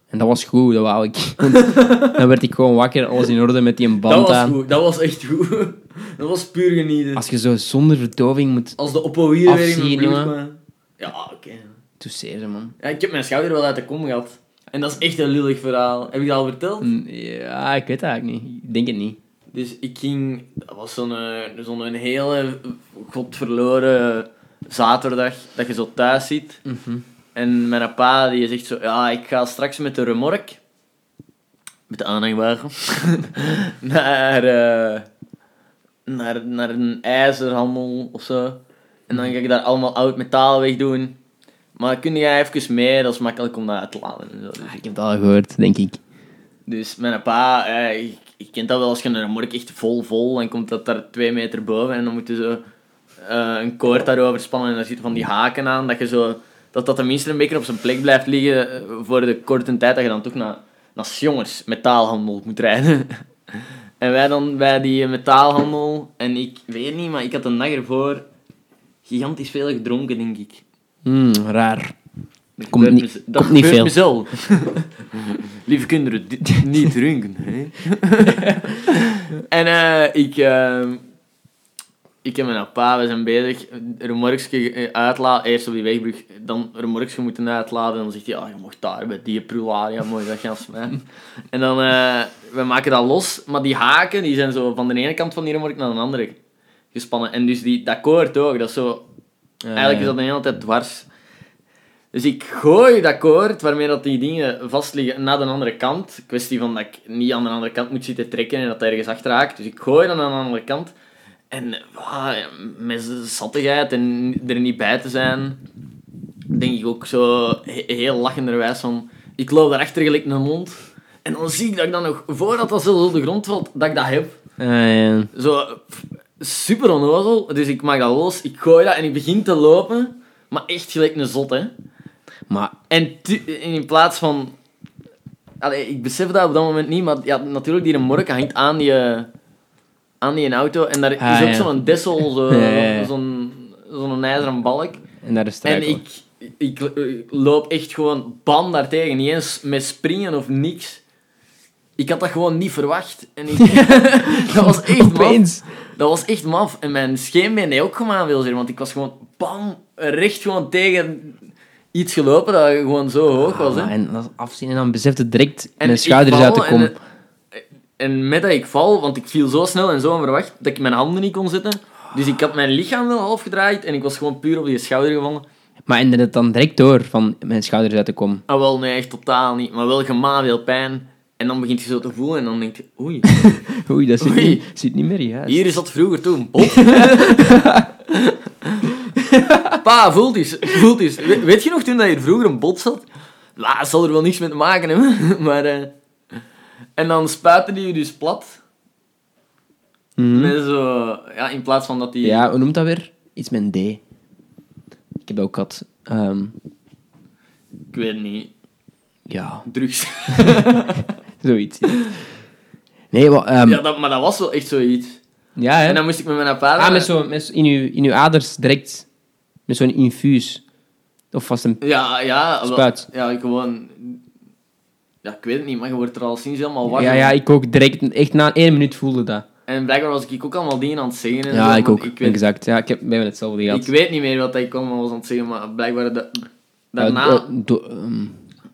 En dat was goed, dat wou ik. Want dan werd ik gewoon wakker, alles in orde met die een Dat band was aan. goed. Dat was echt goed. Dat was puur genieten. Als je zo zonder verdoving moet... Als de oppo hier weer in mijn Afzien, bloed jongen. kwam. Ja, oké. Toeseer ze, man. Ja, ik heb mijn schouder wel uit de kom gehad. En dat is echt een lullig verhaal. Heb ik dat al verteld? Mm, Ja, ik weet dat eigenlijk niet. Ik denk het niet. Dus ik ging... Dat was zo'n eh, zo'n hele godverloren zaterdag dat je zo thuis zit. En mijn pa die zegt zo, ja, ik ga straks met de remork, met de aanhangwagen, naar, eh, naar, naar een ijzerhandel of zo. En dan ga ik daar allemaal oud metaal weg doen. Maar kun jij even mee, dat is makkelijk om dat uit te laden. En zo. Dus, Ah, Ik heb dat al gehoord, denk ik. dus mijn pa, eh, je, je kent dat wel als je een remork echt vol vol, dan komt dat daar twee meter boven en dan moet je zo eh, een koord daarover spannen en daar zitten van die haken aan, dat je zo, dat dat tenminste een beetje op zijn plek blijft liggen eh, voor de korte tijd dat je dan toch naar, naar jongens metaalhandel moet rijden. en wij dan bij die metaalhandel, en ik weet niet, maar ik had een dag ervoor gigantisch veel gedronken, denk ik. Hmm, raar. Dat Komt gebeurt niet- mez- dat komt niet gebeurt veel. mezelf. Lieve kinderen, dit niet drinken. Hè? en eh, ik, eh, ik en mijn pa, we zijn bezig. Remorksje uitladen, eerst op die wegbrug. Dan remorksje moeten uitladen. En dan zegt hij, ja, je mocht daar bij die prularia, mooi dat gaan smijten. en dan, eh, we maken dat los. Maar die haken, die zijn zo van de ene kant van die remork naar de andere gespannen. En dus die, dat koord ook, dat is zo... Eigenlijk is dat de hele tijd dwars. Dus ik gooi dat koord waarmee dat die dingen vastliggen naar de andere kant. Kwestie van dat ik niet aan de andere kant moet zitten trekken en dat het ergens achter haakt. Dus ik gooi dat aan de andere kant. En ah, met zattigheid en er niet bij te zijn, denk ik ook zo he- heel lachenderwijs van... Ik loop daarachter gelijk een mond. En dan zie ik dat ik dan nog, voordat dat zelfs op de grond valt, dat ik dat heb. Eh, Zo pff, super onnozel. Dus ik maak dat los, ik gooi dat en ik begin te lopen. Maar echt gelijk een zot, hè. maar En tu- en in plaats van... Allee, ik besef dat op dat moment niet, maar ja, natuurlijk die remork hangt aan die, eh, aan die auto. En daar Ah, is ook ja. zo'n dessel, zo, Ja, ja, ja. zo'n zo'n ijzeren balk. en daar is En struikel. ik, ik ik loop echt gewoon bam daartegen. Niet eens met springen of niks. Ik had dat gewoon niet verwacht. En ik, dat was echt maf. Opeens. Dat was echt maf. En mijn scheenbeen deed ook gewoon aan veel zeer. Want ik was gewoon bam, recht gewoon tegen iets gelopen dat gewoon zo hoog was. Hè. Ah, en dat is afzien en dan besefte direct En mijn ik schouders val uit te en- komen. En met dat ik val, want ik viel zo snel en zo onverwacht, dat ik mijn handen niet kon zetten. Dus ik had mijn lichaam wel half gedraaid en ik was gewoon puur op die schouder gevallen. Maar en dat dan direct door van mijn schouders uit te komen. Ah, wel, nee, echt totaal niet. Maar wel gemaakt, pijn. En dan begint je zo te voelen en dan denk je, oei, Oei, dat zit, Oei. Niet, zit niet meer in huis. hier is dat vroeger toen. Bot. pa, voelt eens, voelt eens. We- weet je nog toen dat hier vroeger een bot zat? Nou, dat zal er wel niks mee te maken hebben, maar... eh, En dan spuiten die je dus plat. Mhm. Met zo... Ja, in plaats van dat die... Ja, hoe noemt dat weer? Iets met een D. Ik heb dat ook gehad. Ehm, Ik weet niet. ja, Drugs. zoiets. Nee, wat... ehm, ja, dat, maar dat was wel echt zoiets. ja, hè? En dan moest ik met mijn eh, apparat... Ah, met zo, met zo- in, uw, in uw aders direct. Met zo'n infuus. Of vast een... Ja, ja. wel- Spuit. Ja, gewoon... Ja, ik weet het niet, maar je wordt er al sinds helemaal wakker. Ja, ja, ik ook direct. Echt na één minuut voelde dat. En blijkbaar was ik ook allemaal dingen aan het zeggen. En zo, Ja, ik want ook. Ik weet, Exact. Ja, ik heb bij hetzelfde gehad. ik weet niet meer wat ik allemaal was aan het zeggen, maar blijkbaar... da- daarna, Eh, do- ehm,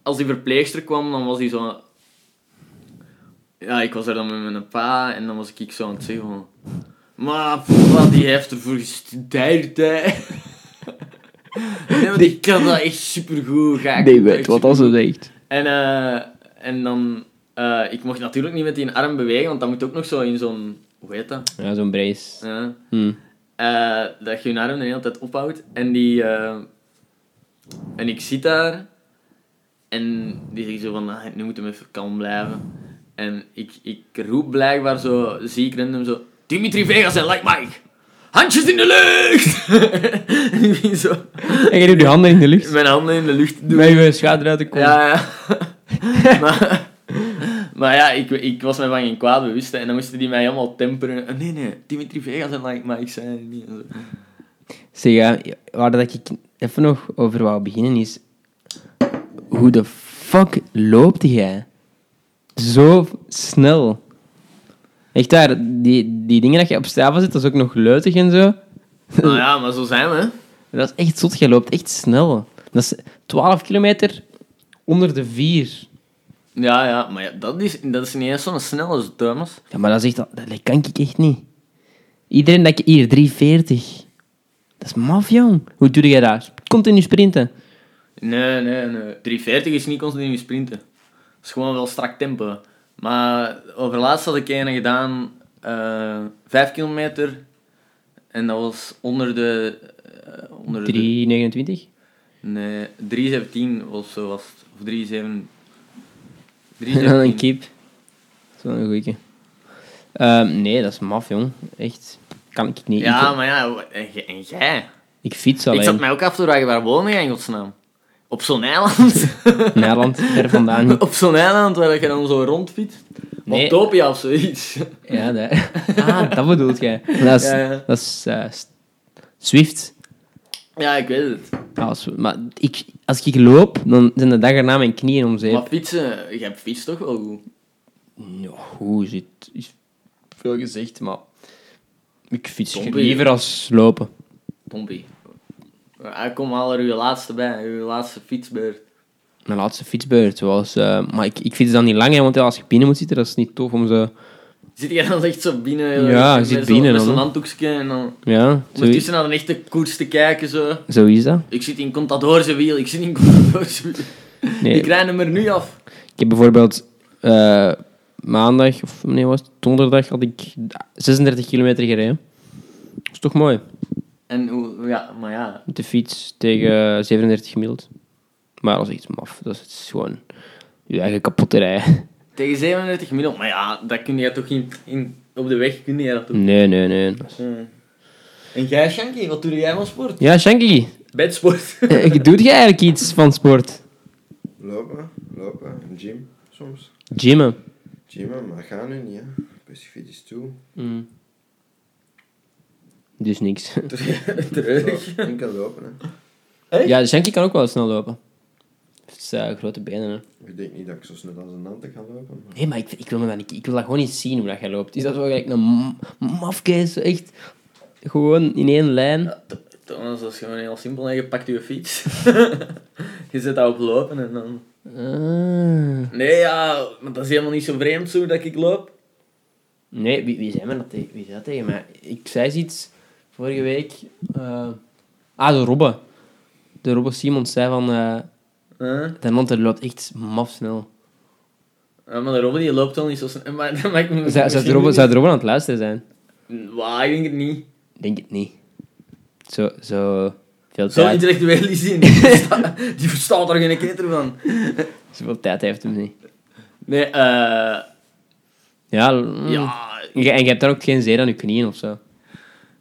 als die verpleegster kwam, dan was die zo... Ja, ik was er dan met mijn pa en dan was ik zo aan het zeggen van... Maar papa, die heeft ervoor gestudeerd, hè. Nee, maar die kan dat echt supergoed. Ga ik Nee, dat weet echt wat als supergoed. het echt. En, eh, en dan... eh, ik mocht natuurlijk niet met die arm bewegen, want dat moet ook nog zo in zo'n... Hoe heet dat? Ja, zo'n brace. Ja. Hm. Eh, dat je je arm de hele tijd ophoudt. En die... eh, en ik zit daar. En die zegt zo van, "Ah, nu moeten we even kalm blijven. En ik, ik roep blijkbaar zo, zie ik random zo... Dimitri Vegas en Like Mike! Handjes in de lucht! en ik ging zo En je doet je handen in de lucht. mijn handen in de lucht doen. Met je schouder uit de kom. Ja, ja. maar, maar ja, ik, ik was me van geen kwaad bewust. hè, En dan moesten die mij helemaal temperen. Eh, Nee, nee, Dimitri Vegas en Like Mike zijn er niet. En zo. Zeg, ja, waar dat ik even nog over wou beginnen is... Hoe de fuck loopt jij? Zo snel. Echt daar, die, die dingen dat je op Strava zit, dat is ook nog leutig en zo. Nou ja, maar zo zijn we. hè. Dat is echt zot, jij loopt echt snel. Dat is 12 kilometer onder de 4. Ja, ja, maar ja, dat, is, dat is niet eens zo'n snelle Thomas. Ja, maar dat is echt, dat, dat kan ik echt niet. Iedereen dat ik hier 340. Dat is maf, jong. Hoe doe jij dat? Continu sprinten. Nee, nee, nee. 340 is niet continu sprinten. Dat is gewoon wel strak tempo. Maar overlaatst had ik een gedaan, eh 5 kilometer. En dat was onder de... eh, onder de- 329. Nee, 317 of zo was het. Of 37. Dan een 317. kip. Dat is wel een goeie. Ehm, nee, dat is maf, jong. Echt. Kan ik niet. ja, ik, maar ja, wa- en j- en jij? ik fiets Ik zat alleen. mij ook af te vragen, waar woon jij in godsnaam? Op zo'n eiland? Nederland, ver vandaan. Op zo'n eiland waar je dan zo rondfietst. Nee. Montopia of zoiets. Ja, dat. Ah, dat bedoelt jij. Dat is, Ja, ja. Dat is eh, s- Swift. Ja, ik weet het. Ja, Als, maar ik, als ik loop, dan zijn de dag erna mijn knieën omzeep. Maar fietsen, jij fietst toch wel goed? Ja, hoe zit... Is veel gezegd, maar... Ik fiets Zombie. liever als lopen. Tompie. Ja, kom, haal er uw laatste bij, uw laatste fietsbeurt. Mijn laatste fietsbeurt was... eh, maar ik, ik fiets dan niet lang, hè, want ja, als je binnen moet zitten, dat is niet tof om zo... Zit jij dan echt zo binnen? eh, Ja, je met zit zo'n- binnen Met dan, zo'n hè. handdoekje en dan... Ja, zo, Ondertussen naar een echte koers te kijken, zo. zo is dat. Ik zit in Contadoorse wiel, ik zit in Contadoorse wiel. Nee, Ik ik rij hem er nu af. heb bijvoorbeeld... eh, maandag, of nee, was het donderdag, had ik 36 kilometer gereden. Dat is toch mooi. En hoe- ja, maar ja. Met de fiets tegen 37 gemiddeld. Maar dat is iets maf. Dat is gewoon je eigen kapotte rijden. Tegen 37 middel, maar ja, dat kun je toch in, in, op de weg kun je dat doen. Nee, nee, nee. Dat is- En jij, Shanky, wat doe jij van sport? Ja, Shanky, Bedsport. eh, doe jij eigenlijk iets van sport? Lopen, lopen, gym soms. Gymmen. Gymmen, maar dat gaat nu niet, hè. Specifiek is toe. Dus niks. Terug. Zo, enkel lopen, hè. Ja, Shanky kan ook wel snel lopen. Het is eh, grote benen, hè. Ik denk niet dat ik zo snel als een ante ga lopen. maar- Nee, maar ik, ik, wil me dat niet, ik wil dat gewoon niet zien hoe dat jij loopt. Is dat zo gelijk een m- mafke, zo echt... Gewoon in één lijn. Thomas, dat is gewoon heel simpel. hè. Je pakt je fiets. je zet dat op lopen en dan... Ah. Nee, ja, maar dat is helemaal niet zo vreemd zo dat ik loop. Nee, wie, wie, zei me dat tegen, wie zei dat tegen mij? Ik zei iets vorige week. eh, ah, de Robbe. De Robbe Simons zei van... eh Huh? de Nanter loopt echt maf snel. Ja, maar de Robin die loopt al niet zo snel. Maar dat maakt me Zou, zou, de Robbe, zou de Robbe aan het luisteren zijn? Waar, ik denk het niet. Denk het niet. Zo, zo veel Zo tijd. intellectueel is hij niet. Die verstaat- Die verstaat er geen keter van. Zoveel tijd heeft hem niet. Nee, eh... Ja, mm. Ja, En je en je hebt dan ook geen zeer aan je knieën of zo.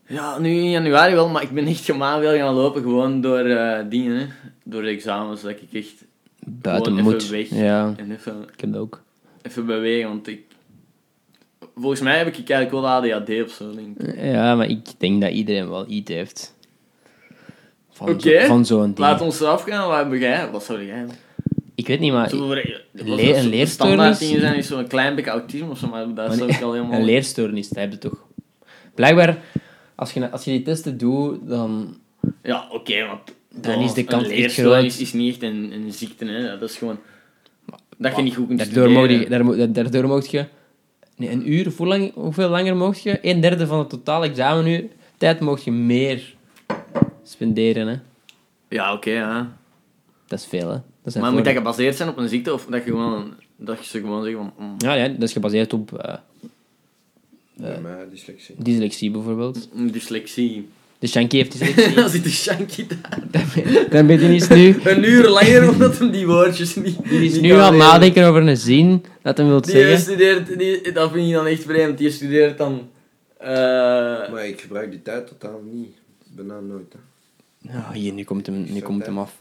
ja, nu in januari wel, maar ik ben echt gemaakt wil gaan lopen gewoon door eh, dingen, hè. Door de examens, dat ik echt... Buiten Gewoon moet. even weg. Ja, En even, ik heb dat ook. even bewegen, want ik... Volgens mij heb ik eigenlijk wel ADHD of zo, denk ik. Ja, maar ik denk dat iedereen wel iets heeft. Van zo- Oké. van zo'n ding. Laat ons eraf gaan, wat heb jij? Wat zou jij? Ik weet niet, maar... Zo voor- wat een dat soort leerstoornis? standaard dingen zijn is zo'n klein beetje autisme of zo, maar dat Maar zou nee, ik al helemaal... Een leerstoornis, dat heb je toch? Blijkbaar, als je, als je die testen doet, dan... Ja, oké, want... Oh, Dan is de een kans echt leerstoornis groot. is niet echt een, een ziekte, hè. Dat is gewoon... Dat je niet goed kunt Daardoor mocht studeren. je, daar, mo- daardoor mocht je nee, een uur, of hoe lang, hoeveel langer mocht je? Een derde van het totaal examenuur. Tijd mocht je meer spenderen, hè. Ja, oké, ja. Dat is veel, hè. Dat zijn Maar moet dat voor- gebaseerd zijn op een ziekte of dat je gewoon, dat je gewoon zegt van... mm, Ja, ja, dat is gebaseerd op eh, Bij mij, dyslexie. dyslexie bijvoorbeeld. mm, dyslexie. De Shanky heeft dyslexie. Dan zit de Shanky daar. Dan ben je niet nu... Een uur langer omdat hem die woordjes niet... Die is niet nu kan aan het leren. nadenken over een zin dat hij wil Die zeggen. studeert, die, dat vind je dan echt vreemd, die studeert dan... eh, Maar ik gebruik die tijd totaal niet. Bijna nooit. Hè. Nou, hier, nu komt hem, nu komt hem af.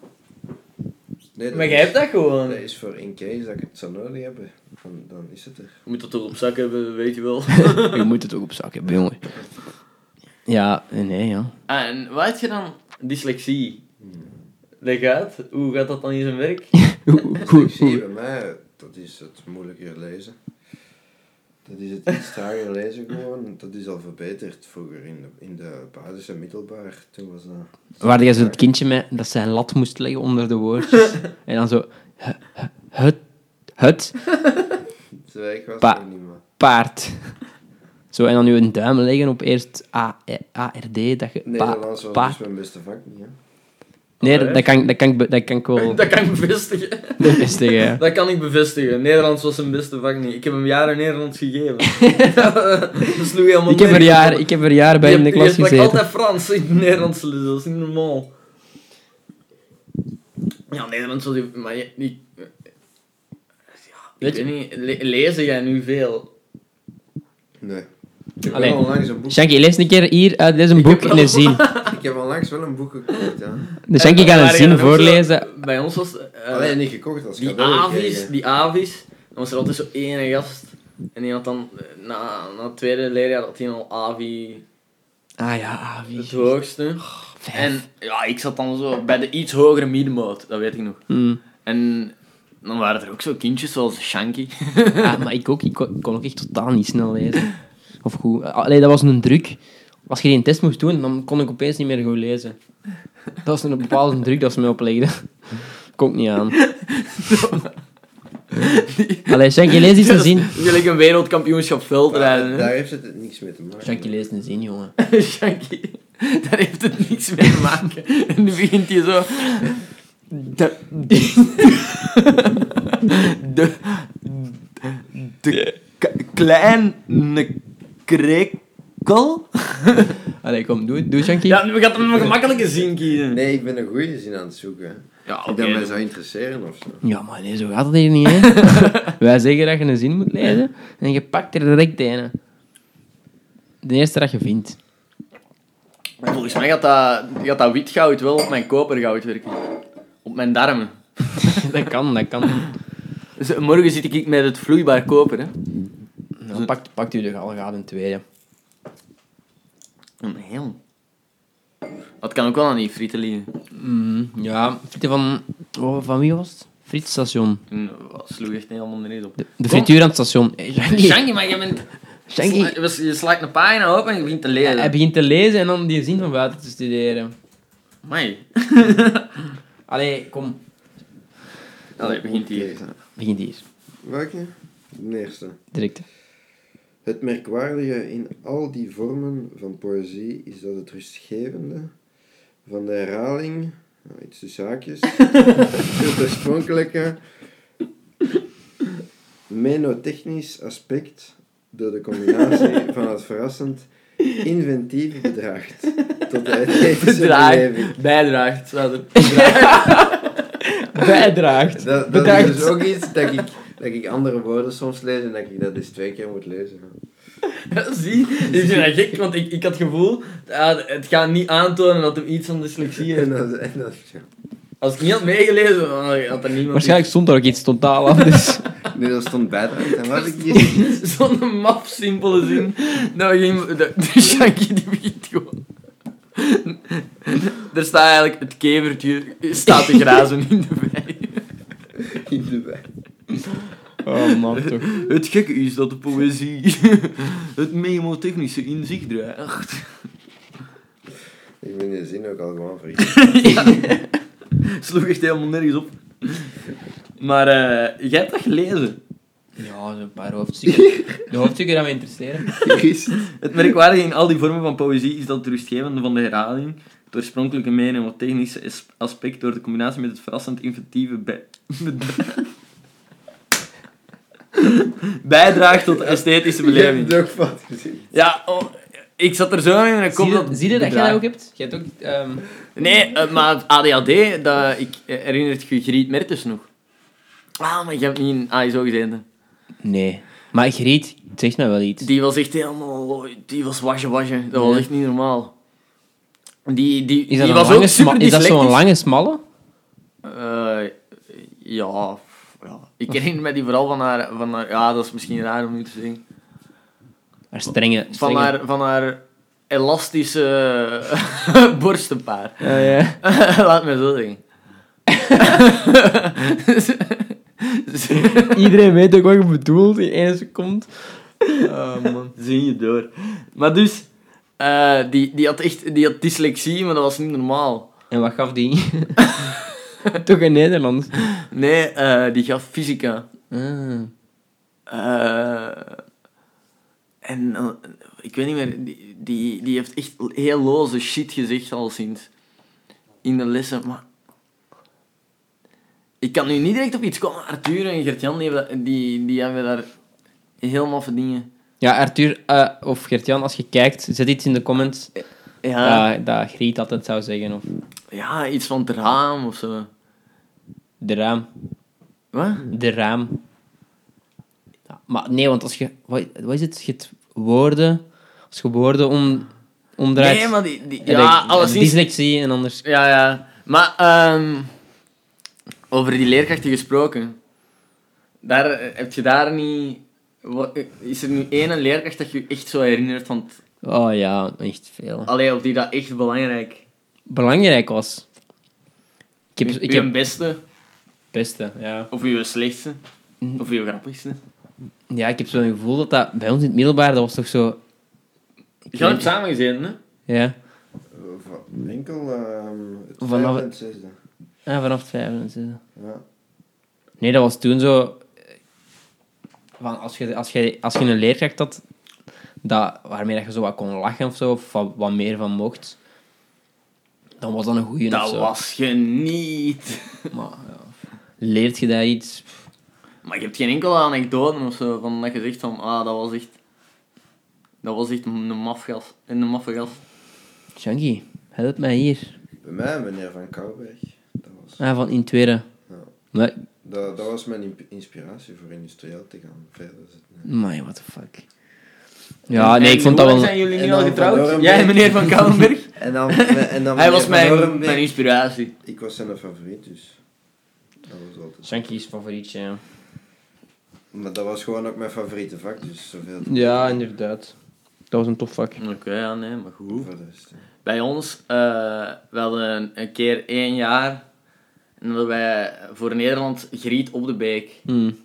Nee, dat maar jij hebt dat is, gewoon. dat is voor in case dat ik het zou nodig hebben. Dan, dan is het er. Je moet dat toch op zak hebben, weet je wel. Je moet het ook op zak hebben, jongen. Ja, nee, ja. Ah, en wat heb je dan? Dyslexie. Leg uit, hoe gaat dat dan in zijn werk? Hoe- hoe- Dyslexie hoe- bij mij, dat is het moeilijker lezen. Dat is het iets trager lezen gewoon. Dat is al verbeterd vroeger in de, in de basis en middelbaar. Toen was dat... Waar jij zo het kindje mee dat zijn lat moest leggen onder de woordjes. En dan zo... h- h- Het, het Terwijl ik was Pa. nog niet meer. paard. Zo, en dan nu een duim leggen op eerst A, E, ARD, dat je... Pa, Nederlands was paard. dus mijn beste vak niet, hè. Nee, dat, dat kan, ik- dat, kan ik, be- dat kan ik wel Dat kan ik bevestigen. bevestigen, ja. Dat kan ik bevestigen. Nederlands was zijn beste vak niet. Ik heb hem jaren Nederlands gegeven. dat sloeg helemaal Ik heb er nergens op. jaar, ik heb er jaar bij Je in de hebt- klas Je sprak gezeten. altijd Frans in het Nederlands, dus dat is niet normaal. Ja, Nederlands was... je- Maar je, niet, ja, Weet weet je niet, le- lezen jij nu veel? Nee. Ik heb Allee. wel onlangs een boek... Shanky, lees een keer hier uit deze boek in een zin. Ik heb onlangs wel een boek gekocht, ja. Dus Shanky En- gaat maar een ja, zin dat was- voorlezen. Bij ons was... eh, Alleen niet gekocht als Die cadeau avis, gekregen. die avis, dan was er altijd zo ene gast. En die had dan, eh, na, na het tweede leerjaar, had hij al avi Ah ja, ah, wie- het hoogste. En ja, ik zat dan zo bij de iets hogere middenmoot, dat weet ik nog. Hmm. En dan waren er ook zo kindjes zoals Shanky. Ah, maar ik ook. Ik kon, ik kon ook echt totaal niet snel lezen. Of goed. Allee, dat was een druk. Als je die test moest doen, dan kon ik opeens niet meer goed lezen. Dat was een bepaalde druk dat ze mij oplegden. Komt niet aan. Allee, Shanky, lees eens een zin. Jullie een wereldkampioenschap veldrijden. Maar hè. Daar heeft het niks mee te maken. Shanky, lees een zin, jongen. Shanky, daar heeft het niets mee te maken. En nu begint hij zo... De... De... De... k- Kleine... Krekel? Allee, kom, doe, doe Shanky. Ja, we gaan hem een gemakkelijke zin kiezen. Nee, ik ben een goede zin aan het zoeken. Ja, Ik dat mij zou interesseren of zo. Ja, maar nee, zo gaat het hier niet, hè. Wij zeggen dat je een zin moet lezen en je pakt er direct een. De eerste dat je vindt. Volgens mij gaat dat, gaat dat wit goud wel op mijn kopergoud werken. Op mijn darmen. Dat kan, dat kan. Dus morgen zit ik met het vloeibaar koper, hè. Dan pakt, pakt u de galgaat in tweede. Een heel. Dat kan ook wel aan die frieten liggen. Mm, ja, frieten van... oh, van wie was het? Frietstation. Toen was- sloeg echt helemaal nergens op. De, de frituur aan het station. Eh, Hey, Shanky, Shanky, maar je bent... Shanky. Je, je slaat een pagina open en je begint te lezen. Hij begint te lezen en dan die zin van buiten te studeren. Amai. Allee, kom. Allee, begint hier. Begint hier. Welke? De eerste. Direct. Het merkwaardige in al die vormen van poëzie is dat het rustgevende van de herhaling, nou, iets tussen haakjes, het oorspronkelijke menotechnisch aspect door de combinatie van het verrassend inventief bedraagt tot de esthetische beleving. Draagt. Bijdraagt. staat er. Draagt. Bijdraagt. Dat, dat is dus ook iets dat ik, dat ik andere woorden soms lees en dat ik dat eens twee keer moet lezen. Ja, Zie, ik vind dat gek, want ik, ik had het gevoel, ah, het gaat niet aantonen dat hem iets van dyslexie En heeft. dat, en dat, ja. Als ik niet had meegelezen, dan had er niemand... Waarschijnlijk stond daar ook iets totaal anders. Nee, dat stond bijdraagt. En was ik hier? Zo'n maf simpele zin. Nou, geen, de, de Shanky die begint gewoon. Er staat eigenlijk het kevertje staat te grazen in de wei. in de wijk. Oh man, toch. Het gekke is dat de poëzie het memotechnische in zich draagt. Ik ben de zin ook al gewoon vergeten. Sloeg echt helemaal nergens op. Maar eh, jij hebt dat gelezen. Ja, zo'n paar hoofdstukken. De hoofdstukken dat me interesseren. Christ. Het merkwaardige in al die vormen van poëzie is dat het rustgevende van de herhaling, het oorspronkelijke meen en wat technische is- aspect door de combinatie met het verrassend inventieve bij... bijdraagt tot de esthetische Je hebt beleving. het ook fout gezien. Ja, oh, ik zat er zo in en ik Zie kom je, dat... zie je dat jij dat bedraagt. ook hebt? Jij hebt ook... ehm, Nee, eh, maar het ADHD, dat, ik eh, herinnert je Griet Mertens nog. Ah, maar je hebt niet een ASO gezeten. Nee. Maar Griet, het zegt mij wel iets. Die was echt helemaal... Die was wasje wasje. Dat was Ja. echt niet normaal. Die, die, Is dat, die een was lange ook sma- super is dat zo'n dyslectisch. lange smalle? Eh, ja, ja. Ik herinner me die vooral van haar, van haar... Ja, dat is misschien raar om nu te zeggen. Haar strenge... Van strenge- haar, van haar elastische borstenpaar. Ah, Ja, ja. Laat me zo zeggen. Iedereen weet ook wat je bedoelt in één seconde. Oh man, zing je door. Maar dus, eh, die, die had echt die had dyslexie, maar dat was niet normaal. En wat gaf die? Toch in Nederlands. Nee, eh, die gaf fysica. Ah. Eh, en eh, ik weet niet meer, die, die, die heeft echt heel loze shit gezegd al sinds in de lessen. Maar ik kan nu niet direct op iets komen. Arthur en Gertjan die hebben, dat- die, die hebben daar heel maffe dingen. Ja, Arthur eh, of Gertjan, als je kijkt, zet iets in de comments Ja, dat, dat Griet altijd zou zeggen. Of ja, iets van het raam of zo. de raam. Wat? De raam. Ja, maar nee, want als je... Wat, wat is het? Je het woorden... Als je woorden om, omdraait... Nee, maar die... die heb ja, ik alleszins... Dyslexie en anders... Ja, ja. Maar, ehm, over die leerkrachten gesproken. Daar, eh, heb je daar niet... wa- eh, Is er nu één leerkracht dat je je echt zo herinnert van... t- Oh ja, echt veel. Allee, op die dat echt belangrijk... Belangrijk was... Ik heb, Uw- ik uw heb beste, beste, ja. of uw slechtste, of uw grappigste. Ja, ik heb zo'n gevoel dat dat... Bij ons in het middelbaar, dat was toch zo... Je hebt samen gezeten, hè? Ja. Eh, van- Enkel ehm het Vanaf vijfde het- en het zesde. Ah, vanaf het vijfde. en zesde. Ja. Nee, dat was toen zo... eh, Van als, je, als, je, als je een leerkracht had, dat, waarmee dat je zo wat kon lachen of zo, of wat, wat meer van mocht, dan was dat een goeie of Dat zo. was je niet. Maar, ja. Leert je daar iets? Maar je hebt geen enkele anekdote of zo, van dat je zegt van... Ah, dat was echt... Dat was echt een mafgas. Een maffe gast. Shanky, help mij hier. Bij mij, meneer Van Kouwberg. Dat was, Ah, van in tweede. Ja. Maar, dat, dat was mijn imp- inspiratie voor industrieel te gaan verder zitten. my, what the fuck. Ja, En- nee, en ik vond dat hoe wel... lang zijn jullie En nu al dan Van getrouwd? Dorenberg. Jij, meneer Van Kouwenberg? En dan, en dan Hij was meneer mijn, Van Dorenberg. mijn inspiratie. Ik was zijn favoriet, dus dat was altijd. Shanky is favorietje, ja. Maar dat was gewoon ook mijn favoriete vak, dus zoveel. te- Ja, inderdaad. Dat was een tof vak. Oké, ja, nee, maar goed. Voor de rest, hè. Bij ons, eh we hadden een, een keer één jaar, en hadden wij voor Nederland Griet op de Beek. Hmm.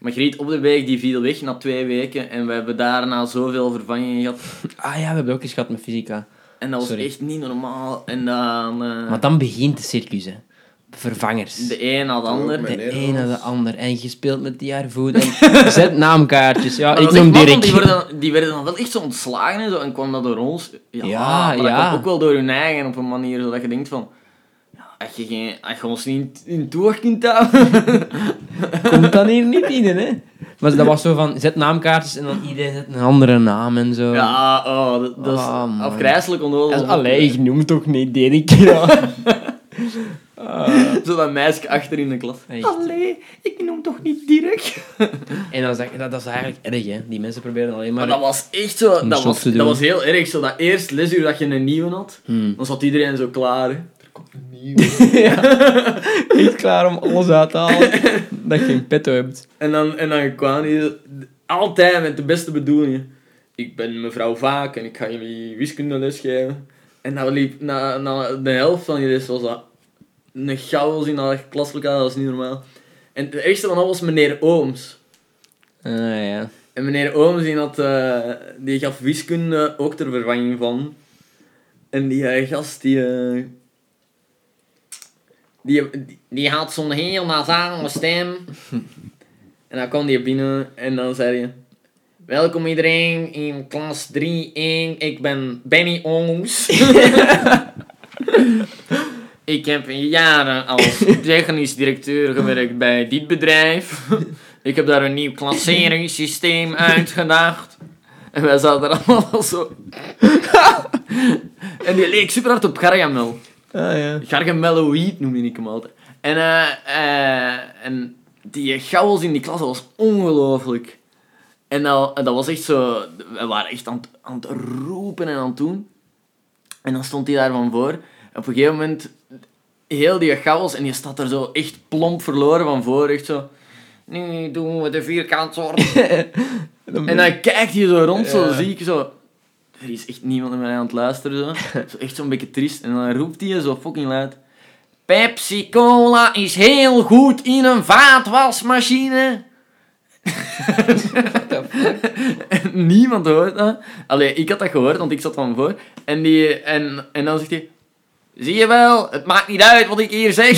Maar Griet op de Beek die viel weg na twee weken en we hebben daarna zoveel vervangingen gehad. Ah ja, we hebben ook eens gehad met fysica. En dat was Sorry. echt niet normaal. En dan eh, Maar dan begint de circus, hè. Vervangers. de een na de ander. Met De Nederlands. een naar de ander. En je speelt met die haar voet. En zet naamkaartjes. Ja, Maar Ah, ik dat was noem echt maf, want Dirk. Die werden, dan- die werden dan wel echt zo ontslagen en zo. En kwam dat door ons? Ja, Ja, maar dat ja. kwam ook wel door hun eigen op een manier zodat je denkt van... Ja, als, je geen, als je ons niet in in toog kunt houden... Komt dan hier niet in, hè? Maar dat was zo van, zet naamkaartjes en dan iedereen zet een andere naam en zo. Ja, oh, dat, dat is Ah, man. afgrijzelijk onnodig. En, allee, ik noem toch niet Dirk. Ja. Ah. Zo dat meisje achter in de klas. Echt. Allee, ik noem toch niet Dirk? En dan zeg je, dat, dat is eigenlijk erg, hè. Die mensen proberen alleen Maar maar... dat was echt zo... Om Dat shot was, te doen. dat was heel erg zo. Dat eerst lesuur dat je een nieuwe had, Hmm. dan zat iedereen zo klaar. hè. Niet klaar om alles uit te halen dat je een petto hebt. En dan, en dan kwam hij altijd met de beste bedoelingen. Ik ben mevrouw Vaak en ik ga jullie wiskundeles geven. En dan liep, na, na de helft van die les was dat een chaos in dat klaslokaal, dat was niet normaal. En het ergste van al was meneer Ooms. Ah, ja. En meneer Ooms die, had, eh, die gaf wiskunde ook ter vervanging van. En die eh, gast die, eh, die... Die had zo'n heel nasale stem. En dan kwam hij binnen en dan zei hij... Welkom iedereen in klas 3-1. Ik ben Benny Ooms. ik heb jaren als technisch directeur gewerkt bij dit bedrijf. ik heb daar een nieuw klasseringssysteem uitgedacht. En wij zaten er allemaal zo... en die leek super hard op Gargamel. Ah, ja. Gargamel Weed eh, noemde ik hem altijd. En, eh, eh, en die chaos in die klas, dat was ongelooflijk. En dat, dat was echt zo... We waren echt aan, het- aan het roepen en aan het doen. En dan stond hij daar van voor. En op een gegeven moment... Heel die chaos. En je staat er zo echt plomp verloren van voor. Echt zo... Nu doen we de vierkantsoort. En dan kijkt hij zo rond, zo Ja. zie ik zo... Er is echt niemand naar mij aan het luisteren, zo. zo echt zo'n beetje triest. En dan roept hij zo fucking luid... Pepsi Cola is heel goed in een vaatwasmachine. En niemand hoort dat. Allee, ik had dat gehoord, want ik zat van voor. En, die, en, en dan zegt hij... Zie je wel, het maakt niet uit wat ik hier zeg.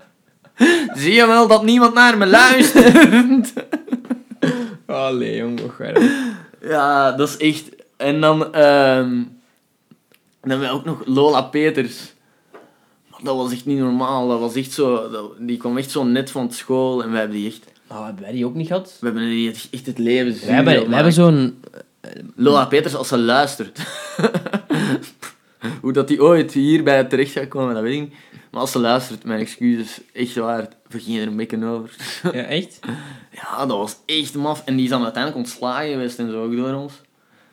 Zie je wel dat niemand naar me luistert? Allee, jong, och, waarom? Ja, dat is echt. En dan, ehm dan hebben we ook nog Lola Peters. Maar Dat was echt niet normaal. Dat was echt zo, dat- die kwam echt zo net van school en we hebben die echt, Nou, hebben wij die ook niet gehad? we hebben die echt- echt het leven zuur We hebben, gemaakt. we hebben zo'n... Lola Peters, als ze luistert. Hoe dat die ooit hierbij terecht gaat komen, dat weet ik niet. Maar als ze luistert, mijn excuses, echt waar, we gingen er een beetje over. Ja, echt? Ja, dat was echt maf. En die is dan uiteindelijk ontslagen geweest en zo ook door ons.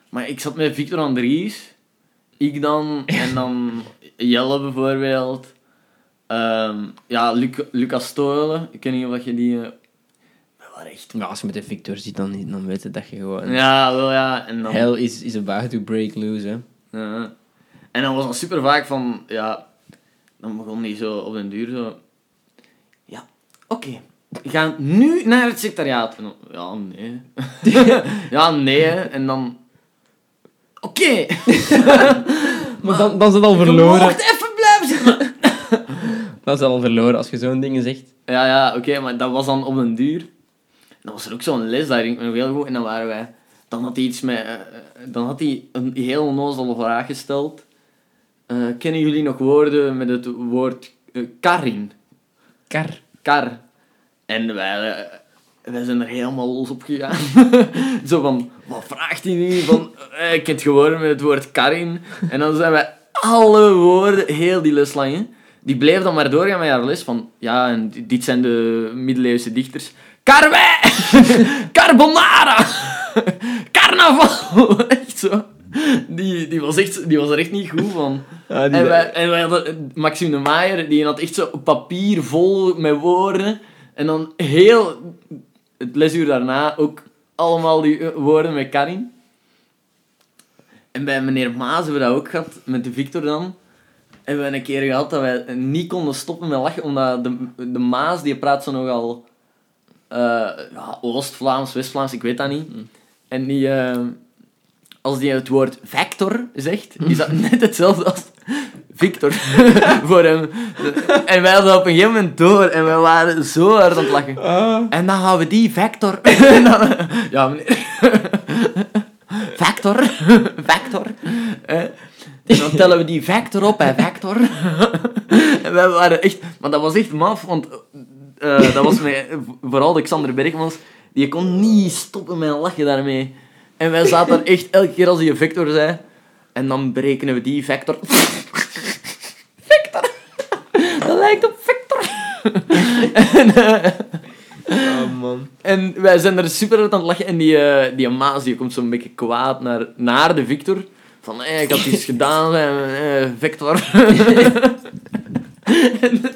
Maar ik zat met Victor Andries. Ik dan. En dan Jelle bijvoorbeeld. Ehm, ja, Luc- Lucas Stoelen. Ik weet niet of dat je die... eh, We waren echt... Ja, als je met de Victor zit, dan, dan weet je dat je gewoon... Ja, wel ja. En dan... Hell is, is about to break loose, hè. Ja. En dan was dat super vaak van, ja, dan begon die zo op den duur zo. Ja, oké. We gaan nu naar het secretariaat. En dan, ja, nee. ja, nee. hè. En dan. Oké. Maar dan, dan is het al je verloren. mocht even blijven zitten. Dat is al verloren als je zo'n dingen zegt. Ja, ja, oké, maar dat was dan op den duur. En dan was er ook zo'n les, daar ging ik me nog heel goed. En dan waren wij... Dan had hij iets met... eh, eh, dan had hij een heel onnozele vraag gesteld. Eh, kennen jullie nog woorden met het woord eh, kar in? Kar. Kar. En wij... eh, wij zijn er helemaal los op gegaan. Zo van, wat vraagt hij nu? Van, eh, ik heb het geworden met het woord kar in. En dan zijn wij alle woorden, heel die les lang, hè. Die bleef dan maar doorgaan met haar les van... Ja, en di- dit zijn de middeleeuwse dichters. Karwei! Carbonara! Carnaval! Echt zo. Die, die, was echt, die was er echt niet goed van. Ah, die- en, wij, en wij hadden... eh, Maxime de Maier, die had echt zo papier vol met woorden. En dan heel... Het lesuur daarna ook allemaal die eh, woorden met Karin. En bij meneer Maas hebben we dat ook gehad, met de Victor dan. Hebben we een keer gehad dat wij niet konden stoppen met lachen, omdat de, de Maas, die praat zo nogal... eh, ja, Oost-Vlaams, West-Vlaams, ik weet dat niet. En die... eh, als die het woord vector zegt, is dat net hetzelfde als Victor voor hem. En wij hadden op een gegeven moment door en wij waren zo hard aan het lachen. Ah. En dan gaan we die vector. En dan- ja, meneer. Vector. Vector. Eh, En dan tellen we die vector op, hè, vector. En wij waren echt... Maar dat was echt maf, want... eh, dat was met, vooral de Xander Bergmans. Die kon niet stoppen met lachen daarmee. En wij zaten er echt elke keer als hij een vector zei. En dan berekenen we die vector. Vector. Dat lijkt op vector. En... eh, Ah, Oh, man. en wij zijn er super hard aan het lachen. En die, eh, die Maas die komt zo'n beetje kwaad naar, naar de Victor. Van, hé, ik had iets gedaan, eh, eh, Victor. En,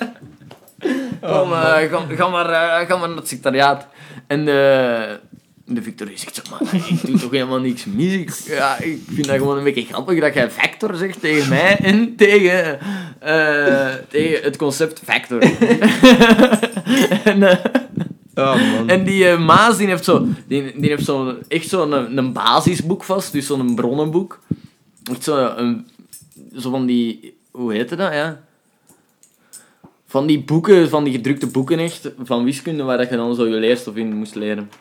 eh, kom, eh, ga, ga maar, eh, ga maar naar het secretariaat. En eh, de Victor die zegt zo, maar ik doe toch helemaal niks mis. Ik, ja, ik vind dat gewoon een beetje grappig dat jij Victor zegt tegen mij en tegen, eh, tegen het concept Victor. en... eh, Oh, man. en die eh, Maas die heeft, zo, die, die heeft zo, echt zo'n eh, een, een basisboek vast, dus zo'n bronnenboek. eh, Echt zo, een, zo van die, hoe heette dat, ja? nou, Van die boeken, van die gedrukte boeken echt, van wiskunde, waar dat je dan zo je leerstof in moest leren.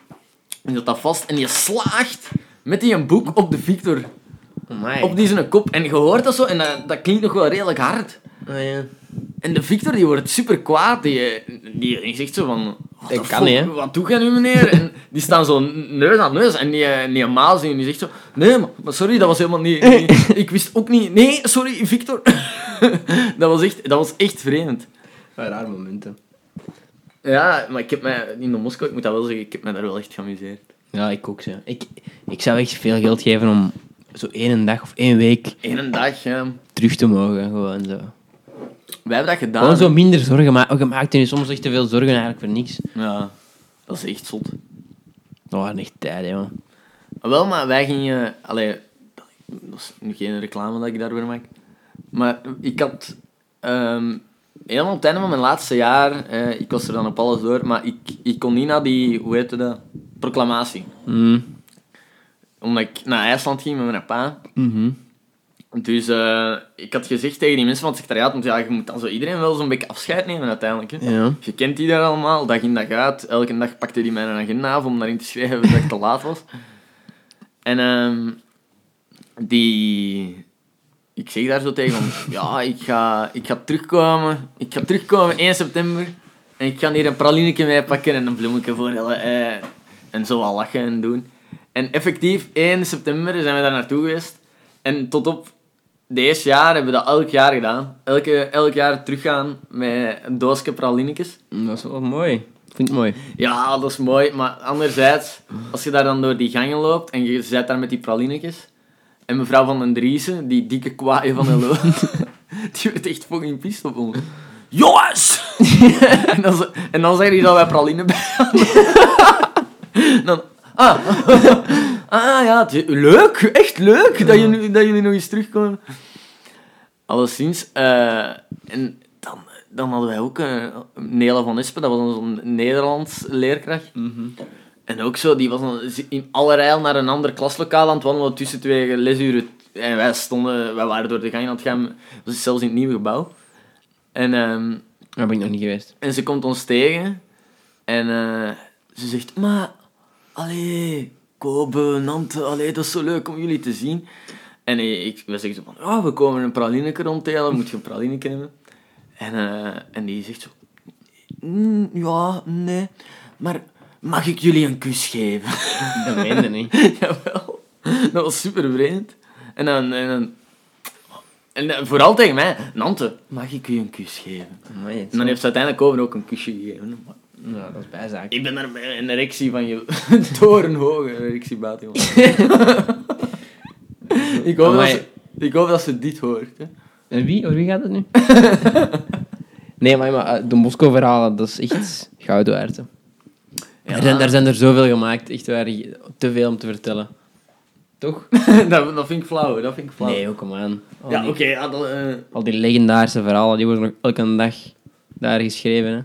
Je zat dat vast en je slaagt met die een boek op de Victor. Amai. Op die zijn kop. En je hoort dat zo en dat, dat klinkt nog wel redelijk hard. Ah, ja. En de Victor die wordt super kwaad. Die, die, die zegt zo van... "What Dat the kan fuck, niet, hè?" Wat doe jij nu, meneer? En die staan zo neus aan neus. En die, eh, die maal zien en die zegt zo... Nee, maar, maar sorry, dat was helemaal niet, niet- Ik wist ook niet... Nee, sorry, Victor. dat, was echt, dat was echt vreemd. Wat rare Ah, momenten. Ja, maar ik heb mij... In de Moskou, ik moet dat wel zeggen, ik heb mij daar wel echt geamuseerd. Ja, ik ook, zo. Ik, ik zou echt veel geld geven om zo één dag of één week Eén dag, ja. terug te mogen, gewoon zo. Wij hebben dat gedaan. Gewoon zo minder zorgen maken. Je maakt je soms echt te veel zorgen eigenlijk voor niks. Ja, dat is echt zot. Dat waren echt tijden, man. Wel, maar wij gingen... Allee, dat is nu geen reclame dat ik daarvoor maak. Maar ik had... ehm, helemaal op het einde van mijn laatste jaar... eh, ik was er dan op alles door, maar ik, ik kon niet naar die... Hoe heette dat? Proclamatie. Mm. Omdat ik naar IJsland ging met mijn pa. Mhm. Dus eh, ik had gezegd tegen die mensen van het secretariaat... Want ja, je moet dan zo iedereen wel zo'n beetje afscheid nemen uiteindelijk. Hè. Ja. Je kent die daar allemaal, dag in dag uit. Elke dag pakte die mijn agenda af om daarin te schrijven dat ik te laat was. En ehm, die... Ik zeg daar zo tegen van, ja, ik ga, ik ga terugkomen. Ik ga terugkomen 1 september. En ik ga hier een pralineke mee pakken en een bloemetje voor jullie. eh, en zo al lachen en doen. En effectief, 1 september zijn we daar naartoe geweest. En tot op deze jaar hebben we dat elk jaar gedaan. Elke, elk jaar teruggaan met een doosje pralinekes. Dat is wel mooi. Ik vind het mooi. Ja, dat is mooi. Maar anderzijds, als je daar dan door die gangen loopt en je zit daar met die pralinetjes. En mevrouw van den Driessen, die dikke kwaaien van de loon, die werd echt fucking pist op ons. Jongens! en, dan, ze- en dan zeggen die dat wij praline bij hadden. dan, ah, ah ja, het- leuk, echt leuk dat, je, nu- dat jullie nog eens terugkomen. Alleszins, eh, en dan, dan hadden wij ook een Nela van Espen, dat was onze Nederlands leerkracht. En ook zo, die was dan in allerijl naar een ander klaslokaal aan het wandelen tussen twee lesuren. En wij stonden, wij waren door de gang aan het gaan, dat was zelfs in het nieuwe gebouw. En, ehm, Daar ben ik nog niet geweest. en ze komt ons tegen en eh, ze zegt, maar, allee, Kobe, Nantes, allee, dat is zo leuk om jullie te zien. En eh, ik, we zeggen zo van, oh, we komen een pralineke rondtelen, moet je een pralineke hebben? En, eh, en die zegt zo, "Mm, ja, nee, maar mag ik jullie een kus geven? Dat meende niet. Jawel. Dat was super vreemd. En dan... En, dan, en dan vooral tegen mij. Nante, mag ik u een kus geven? Amai, het En is dan wel- heeft ze uiteindelijk over ook een kusje gegeven. Maar Ja, dat is bijzaak. Ik ben daar met een erectie van je... Torenhoge erectie buiten. jongen. ik, hoop dat Amai. ze, ik hoop dat ze dit hoort. Hè. En wie? Over wie gaat het nu? nee, maar, maar eh, de Bosco-verhalen, dat is echt goud waard. hè. Er zijn, daar zijn er zoveel gemaakt, echt waar, je- te veel om te vertellen. Toch? dat, dat vind ik flauw. Dat vind ik flauw. Nee, ook om aan. Al, ja, die, oké. ja, dat, eh, al die legendarische verhalen, die worden nog elke dag daar geschreven hè?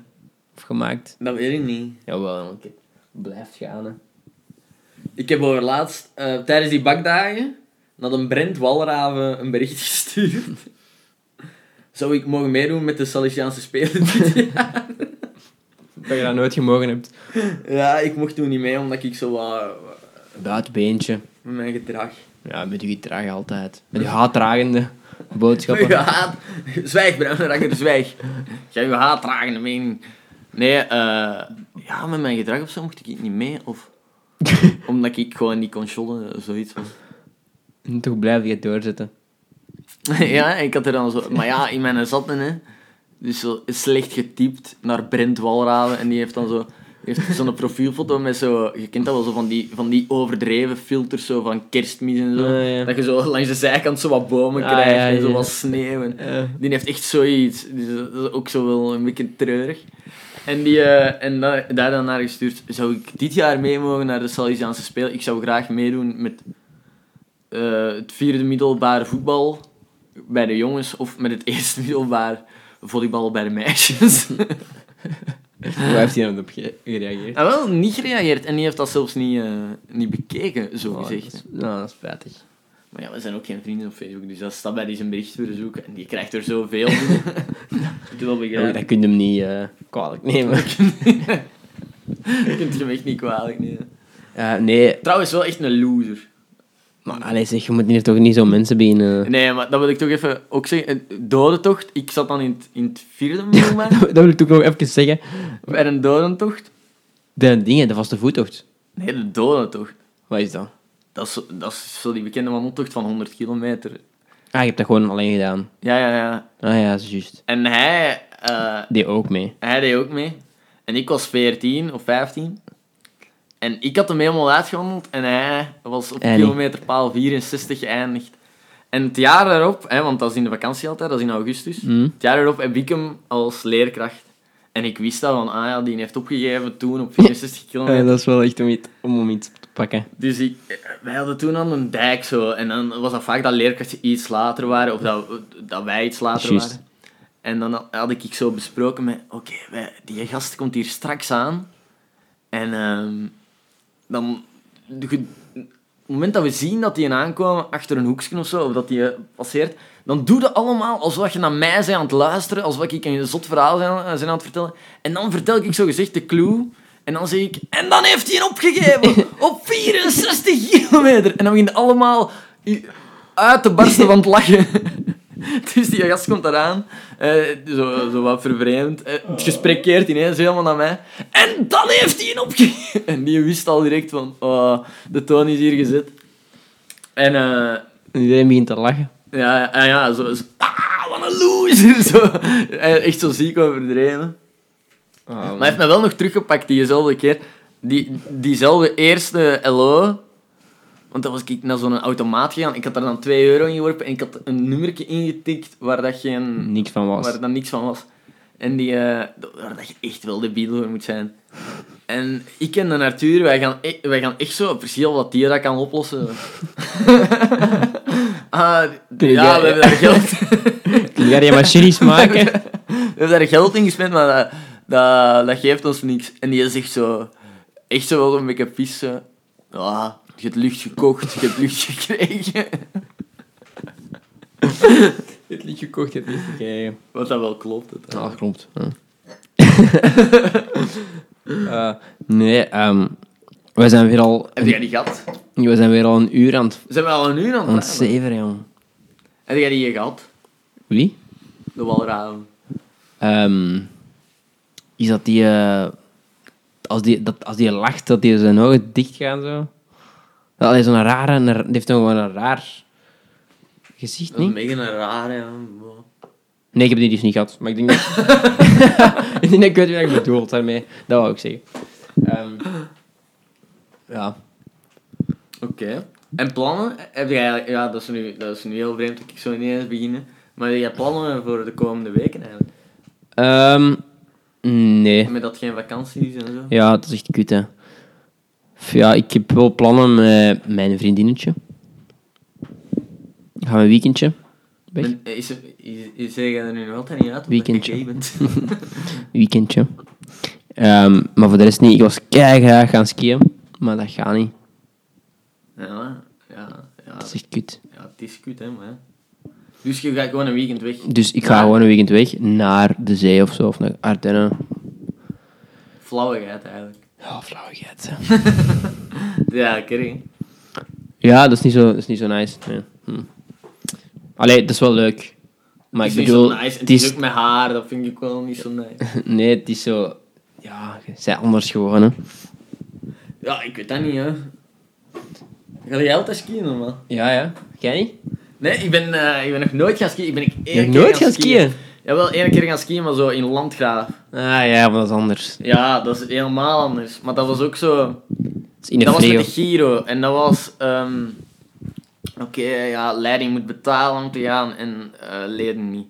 of gemaakt. dat weet ik niet. Jawel, want het blijft gaan. Hè. Ik heb overlaatst eh tijdens die bakdagen naar een Brent Walraven een bericht gestuurd. Zou ik mogen meedoen met de Salesiaanse Spelen? Dat je dat nooit gemogen hebt. ja, ik mocht toen niet mee omdat ik zo wat wat- Buitbeentje. met mijn gedrag. Ja, met die draag altijd. Met die haatdragende boodschappen. Je haat. Zwijg, Bruinrakker, zwijg. Jij je haatdragende mening. Nee, eh, ja, met mijn gedrag of zo mocht ik niet mee. Of omdat ik gewoon niet kon shodden, zoiets was. En toch blijf je het doorzetten. ja, ik had er dan zo... Maar ja, in mijn zatten, hè. Dus zo slecht getypt naar Brent Walraven. En die heeft dan zo... Heeft zo'n profielfoto met zo... Je kent dat wel, zo van die, van die overdreven filters zo van kerstmis en zo. Ah, ja. Dat je zo langs de zijkant zo wat bomen Ah, krijgt ja, en zo ja. wat sneeuw. En, Ja. Die heeft echt zoiets. Dus dat is ook zo wel een beetje treurig. En, die, eh, en da- daar dan naar gestuurd. Zou ik dit jaar mee mogen naar de Salesiaanse Spelen? Ik zou graag meedoen met eh, het vierde middelbare voetbal bij de jongens of met het eerste middelbaar volleybal bij de meisjes. Hoe heeft hij dan op ge- gereageerd? ah, wel, niet gereageerd en die heeft dat zelfs niet, eh, niet bekeken, zo Oh, dat gezegd. is- nou, dat is spijtig. Maar ja, we zijn ook geen vrienden op Facebook, dus als Stabber is een berichtverzoek en die krijgt er zoveel. dat wil Ja, begrijpen. dat kun je hem niet eh, kwalijk nemen. Je kunt hem echt niet kwalijk nemen. Eh, nee, Trouwens, wel echt een loser. maar allee, zeg, je moet hier toch niet zo mensen eh. beginnen. Nee, maar dat wil ik toch even ook zeggen. Een dodentocht, ik zat dan in het, in het vierde moment. dat wil ik toch nog even zeggen. Bij een dodentocht. De dingen, de vaste voettocht. Nee, de dodentocht. Wat is dat? Dat is, zo- dat is zo die bekende wandeltocht van 100 kilometer. Ah, je hebt dat gewoon alleen gedaan. Ja, ja, ja. Ah ja, dat is juist. En hij, eh, Die ook mee. hij deed ook mee. En ik was 14 of 15. En ik had hem helemaal uitgewandeld en hij was op Hij niet. kilometer paal 64 geëindigd. En het jaar daarop, hè, want dat is in de vakantie altijd, dat is in augustus. Hm? Het jaar erop heb ik hem als leerkracht. En ik wist dat van, ah ja, die heeft opgegeven toen op 64 kilometer. Eh, dat is wel echt om iets, om, om iets te pakken. Dus ik, wij hadden toen aan een dijk zo. En dan was dat vaak dat leerkrachten iets later waren. Of dat, dat wij iets later Juist. waren. En dan had ik zo besproken met... Oké, wij- die gast komt hier straks aan. En ehm, dan... de ge- op het moment dat we zien dat die aankomen achter een hoekje of zo, of dat die eh, passeert, dan doe dat allemaal alsof je naar mij bent aan het luisteren, alsof ik een zot verhaal zijn, zijn aan het vertellen. En dan vertel ik zo gezegd de clue, en dan zeg ik, en dan heeft hij een opgegeven, op 64 kilometer. En dan begint allemaal i- uit te barsten van het lachen. Dus die gast komt eraan, eh, zo, zo wat vervreemd. Eh, het gesprek keert ineens helemaal naar mij. En dan heeft hij een opgegeven. En die wist al direct van, oh, de toon is hier gezet. En eh, En Iedereen begint te lachen. ja, ja, ja, zo, zo ah, wat een loser. Zo. Eh, Echt zo ziek overdreven. Maar Ah, hij heeft me wel nog teruggepakt diezelfde keer. Die, diezelfde eerste LO. Want dan was ik naar zo'n automaat gegaan. Ik had daar dan 2 euro in geworpen. En ik had een nummertje ingetikt waar dat geen... Niks van Mm, was. Waar dan niks van was. En die, eh, waar dat je echt wel debiel voor moet zijn. En ik en de Arthur, wij gaan, e- wij gaan echt zo precies wat die dat kan oplossen. ah, Kun je ja, die- we hebben daar geld, Kun jij die maar chilies maken? we hebben daar geld in gespenst, maar dat, dat, dat geeft ons niks. En die zegt zo, echt zo wel een beetje pissen. Ja, je hebt lucht gekocht, je hebt lucht gekregen. Het liedje gekocht, het liedje gekregen. Wat dat wel klopt. Het, Ah, dat klopt. Ja. Eh, nee, ehm, we zijn weer al... Heb jij die gehad? We zijn weer al een uur aan het, Zijn we al een uur aan aan het het praten? zeveren, jong. Heb jij die gehad? Wie? De walraven. Ehm, is dat die, eh, als die... Dat, als die lacht, dat die zijn ogen dicht gaan, zo. Dat is zo'n rare... Een, ra- die heeft dan gewoon een raar gezicht, Dat is een niet? beetje een rare, ja. Nee, ik heb die dus niet gehad. Maar ik denk dat... ik denk dat ik weet wat je bedoelt daarmee. Dat wou ik zeggen. Ehm, ja. Oké. En plannen? Heb jij, ja, dat is, nu, dat is nu heel vreemd dat ik zo ineens begin. Maar heb jij plannen voor de komende weken eigenlijk? Ehm, nee. Met dat geen vakanties en zo? Ja, dat is echt kut, hè. F- Ja, ik heb wel plannen met mijn vriendinnetje. Gaan we een weekendje weg? Ben- eh, is er, is, is, zeg je er nu nog altijd niet uit? omdat je Weekendje. gay bent? Weekendje. Ehm, maar voor de rest niet. Ik was graag gaan skiën, maar dat gaat niet. ja, ja, ja, Dat is echt kut. ja, het is kut, hè, maar... ja. Dus je gaat gewoon een weekend weg. Dus ik ga gewoon een weekend weg naar de zee of zo, of naar Ardennen. Flauwigheid, eigenlijk. Ja, flauwigheid. hè. Ja, kerk, hè. Ja, dat is niet zo, dat is niet zo nice. Nee. Hm. Allee, dat is wel leuk. Maar Het ik is niet bedoel, zo nice. En het het is is, ook met haar, dat vind ik wel niet zo nice. nee, het is zo... Ja, je bent anders gewoon, hè. Ja, ik weet dat niet, hè. Ga jij altijd skiën, normaal? Ja, ja. Jij niet? Nee, ik ben, eh, ik ben nog nooit gaan skiën. Ik ben ik Je hebt nooit gaan skiën? Jawel, één keer gaan skiën, maar zo in Landgraaf. Ah ja, maar dat is anders. Ja, dat is helemaal anders. Maar dat was ook zo... Dat is in een dat was met de vreo. Giro. En dat was... ehm, Oké, ja, leiding moet betalen om te gaan en eh leden niet.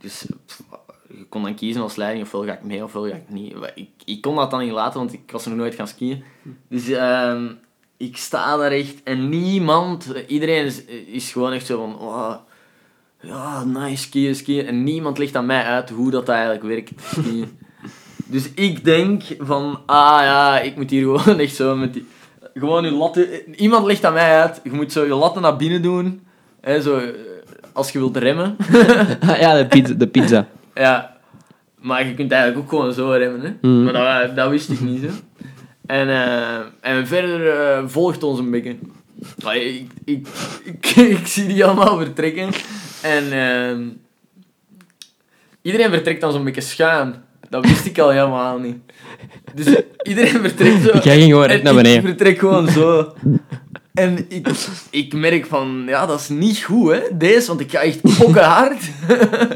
Dus pff, je kon dan kiezen als leiding, ofwel ga ik mee, ofwel ga ik niet. Maar Ik, ik kon dat dan niet laten, want ik was nog nooit gaan skiën. Dus ehm, ik sta daar echt en niemand... Iedereen is, is gewoon echt zo van... "Wow, ja, nice, skiën, skiën. En niemand legt aan mij uit hoe dat eigenlijk werkt, skiën. Dus ik denk van, ah ja, ik moet hier gewoon echt zo met die... gewoon je latten... Iemand legt aan mij uit, je moet zo je latten naar binnen doen. Hè, zo, eh, als je wilt remmen. Ah, ja, de pizza. De pizza. Ja. Maar je kunt eigenlijk ook gewoon zo remmen, hè. Mhm. Maar dat, dat wist ik niet, hè. En, eh, en verder eh, volgt ons een beetje. Maar ik, ik, ik, ik zie die allemaal vertrekken. En ehm, iedereen vertrekt dan zo'n beetje schuin. Dat wist ik al helemaal niet. Dus iedereen vertrekt zo... Jij ging gewoon En recht naar Ik beneden. vertrek gewoon zo. En ik, ik merk van, ja, dat is niet goed, hè, deze, want ik ga echt fokken hard.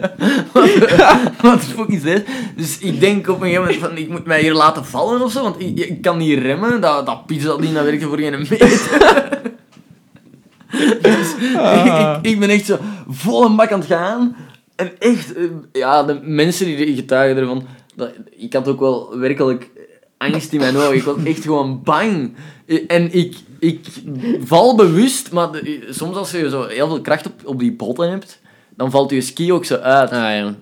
wat, wat fuck is dit? Dus ik denk op een gegeven moment van, ik moet mij hier laten vallen of zo, want ik, ik kan niet remmen. Dat, dat pizza ding, dat werkte voor geen meter. dus Ah. ik, ik, ik ben echt zo vol een bak aan het gaan. En echt, eh, ja, de mensen die getuigen ervan, dat, ik had ook wel werkelijk angst in mijn ogen. Ik was echt gewoon bang. Eh, En ik, ik val bewust, maar de- soms als je zo heel veel kracht op, op die botten hebt, dan valt je ski ook zo uit. Ah ja.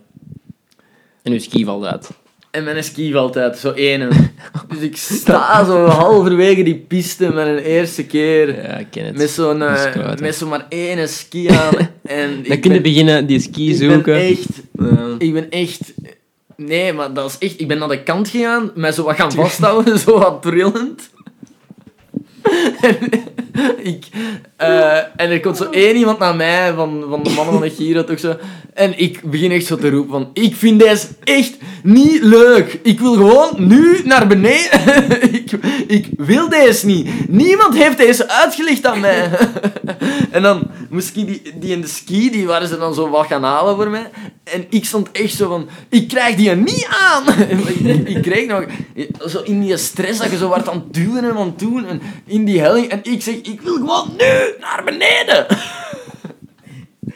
En uw ski valt uit. En mijn ski valt uit, zo ene. Dus ik sta zo halverwege die piste met een eerste keer. Ja, ik ken het. Met zo'n, Dat is eh, kwaad, hè. met zo maar één ski aan. En Dan ik kun je ben- beginnen die ski ik zoeken. Ben echt, Ja. ik ben echt... Nee, maar dat is echt... Ik ben naar de kant gegaan, mij zo wat gaan vasthouden, zo wat trillend. En, ik, eh, en er komt zo één iemand naar mij, van, van de mannen van de Giro, toch zo. En ik begin echt zo te roepen van... Ik vind deze echt niet leuk. Ik wil gewoon nu naar beneden. ik, ik wil deze niet. Niemand heeft deze uitgelegd aan mij. En dan moest ik die, die in de ski, die waren ze dan zo wat gaan halen voor mij. En ik stond echt zo van, ik krijg die er niet aan. ik, ik kreeg nog, zo in die stress dat je zo werd aan het duwen en aan het doen. En in die helling. En ik zeg, ik wil gewoon nu naar beneden.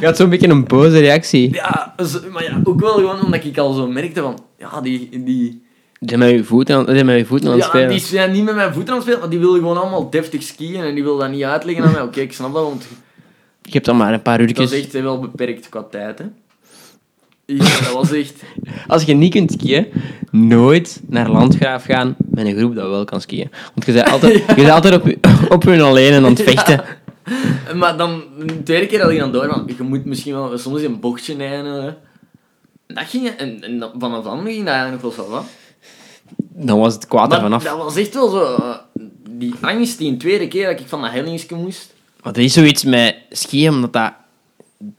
Je had zo'n beetje een boze reactie. ja, zo- maar ja, ook wel gewoon omdat ik al zo merkte van, ja, die... die Je bent met je voeten aan, je bent met je voeten aan het ja, spelen. die zijn niet met mijn voeten aan het spelen, want die wilden gewoon allemaal deftig skiën en die wilden dat niet uitleggen aan mij. Oké, ik snap dat, want Je hebt dan maar een paar dat uurtjes. is echt wel beperkt qua tijd, hè. Ja, dat was echt... Als je niet kunt skiën, nooit naar Landgraaf gaan met een groep dat wel kan skiën. Want je bent altijd, je bent altijd op, je- op hun alleen en aan het vechten. Maar dan, de tweede keer had ik dan door, van, je moet misschien wel soms een bochtje nemen. hè. Dat ging, en, en dat- vanaf dan ging dat eigenlijk nog wel zo wat. Dan was het kwaad er Maar vanaf. dat was echt wel zo, eh, die angst die een tweede keer dat ik van dat hellingsje moest. Want er is zoiets met skiën, omdat dat...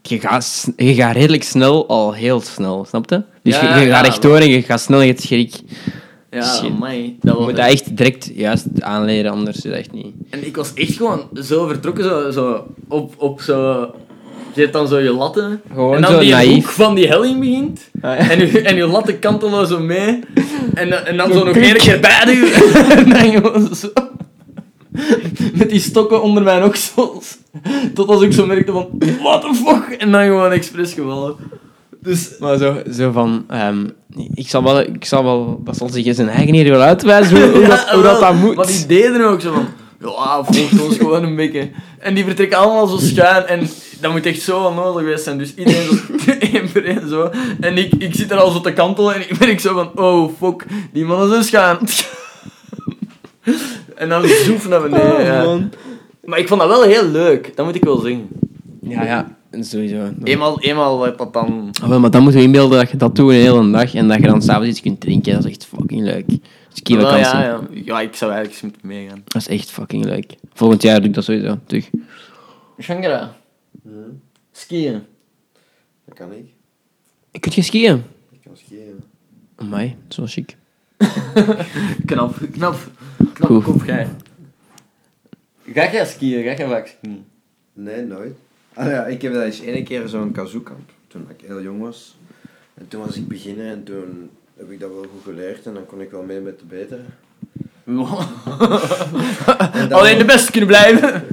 Je gaat, s- je gaat redelijk snel, al heel snel, snap je? Dus Ja, je, je ja, gaat rechtdoor en je gaat snel en je hebt schrik. Ja, Shit. amai, dat Je was moet dat echt direct juist aanleren, anders is dat echt niet... En ik was echt gewoon zo vertrokken, zo, zo op, op zo... Je hebt dan zo je latten. Gewoon en dan zo die naïef. hoek van die helling begint. En, je, en je latten kantelen zo mee. En, dan- en dan zo nog één keer bij u. en dan gewoon zo... Met die stokken onder mijn oksels. Tot als ik zo merkte van... What the fuck? En dan gewoon expres gevallen. Dus... Maar zo, zo van, ehm, ik, zal wel, ik zal wel, dat zal zich in zijn eigen hier wel uitwijzen hoe, hoe dat, Ja, hoe dat, wel, dat moet. Maar die deden ook zo van... Ja, volgt ons gewoon een beetje. En die vertrekken allemaal zo schuin. En dat moet echt zo onnodig geweest zijn. Dus iedereen zo... één voor één zo. En ik, ik zit er al zo te kantelen. En ik merk zo van... Oh, fuck. Die mannen zijn schuin. en dan zoef naar beneden. Oh, ja. man. Maar ik vond dat wel heel leuk. Dat moet ik wel zeggen. Ja, ja, sowieso. Eenmaal, eenmaal heb dat dan... Ah, wel, maar dan moeten we inbeelden dat je dat doet een hele dag en dat je dan s'avonds iets kunt drinken. Dat is echt fucking leuk. Ski Wel, vakantie. Ah, Nou ja, ja. ja, ik zou eigenlijk eens moeten meegaan. Dat is echt fucking leuk. Volgend jaar doe ik dat sowieso terug. Shangara. Hm, Skiën. dat kan ik. Kun je skiën? Ik kan skiën. Amai, zo chic. Knap, knap. Knap Goed. kop jij. Ga jij skiën? Ga jij vaak skiën? Nee, nooit. Ah ja, ik heb dat eens één keer zo'n kazookamp, toen ik heel jong was. En toen was ik beginner en toen heb ik dat wel goed geleerd en dan kon ik wel mee met de betere. En dat Alleen Oh, de was- beste kunnen blijven.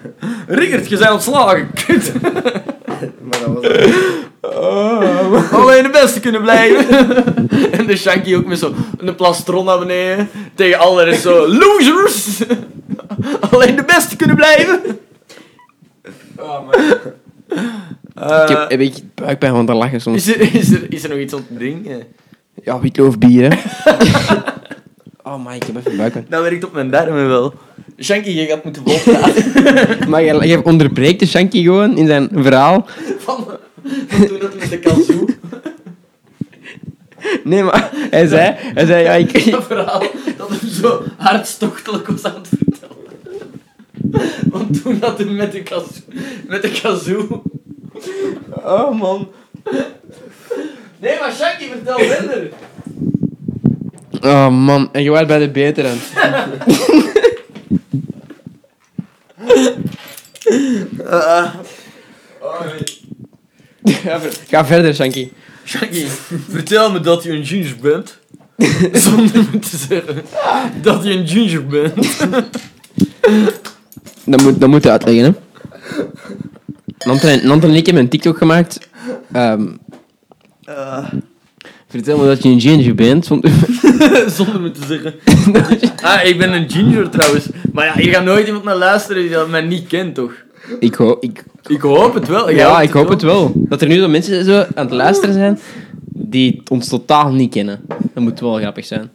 Rickert, je bent ontslagen. Kut. Maar dat was dan- Alleen de beste kunnen blijven. En de Shanky ook met zo een plastron naar beneden. Tegen alle rest zo losers. Alleen de beste kunnen blijven. Oh, ik Eh, heb, heb ik buikpijn van te lachen soms. is, er, is, er, is er nog iets aan het drinken? Ja, witloof bier, hè. Oh my, ik heb even buiken. Dat werkt op mijn darmen wel. Shanky, je gaat moeten volpraten. Maar je, je onderbreekt de Shanky gewoon in zijn verhaal. van, van toen dat met de kalsoen. Nee, maar hij zei... Hij zei ja, ik, dat verhaal dat hem zo hartstochtelijk was aan het vertellen. Want toen had hij met de kazoo... Met de kazoo... Oh, man. Nee, maar Shanky, vertel minder. Oh man, en je was bij de betere. Oh, nee. Ga ver- Ga verder, Shanky. Shanky, vertel me dat je een ginger bent. Zonder me te zeggen dat je een ginger bent. Dat moet, dat moet je uitleggen, hè. Nanten en, Nanten en ik hebben een TikTok gemaakt. Ehm, vertel me dat je een ginger bent. want- Zonder me te zeggen. Ah, ik ben een ginger trouwens. Maar ja, hier gaat nooit iemand naar luisteren die dat mij niet kent, toch? ik hoop... Ik, Ik hoop het wel. Jij ja, hoopt ik hoop Oh, het wel. Dat er nu zo mensen zo aan het luisteren zijn die ons totaal niet kennen. Dat moet wel grappig zijn.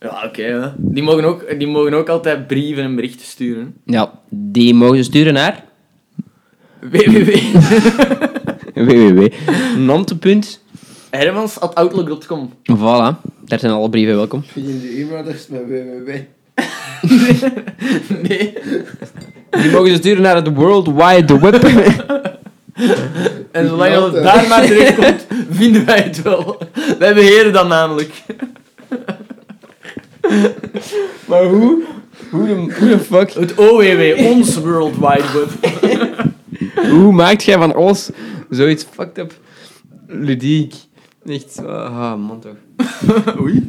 Ja, oké. hè. die, mogen ook, die mogen ook altijd brieven en berichten sturen. Ja, die mogen ze sturen naar... www. www.nante.com Hermans.outlook.com Voilà, daar zijn alle brieven welkom. Vind je de e-mailadres met www? Nee. Die mogen ze sturen naar het World Wide Web. En zolang dat het Later. daar maar terechtkomt, vinden wij het wel. Wij beheren dat namelijk. Maar hoe? Hoe de, hoe de fuck? Het OWW, ons World Wide Web. Hoe maakt jij van ons zoiets fucked up ludiek? Echt, ah man toch. Oei.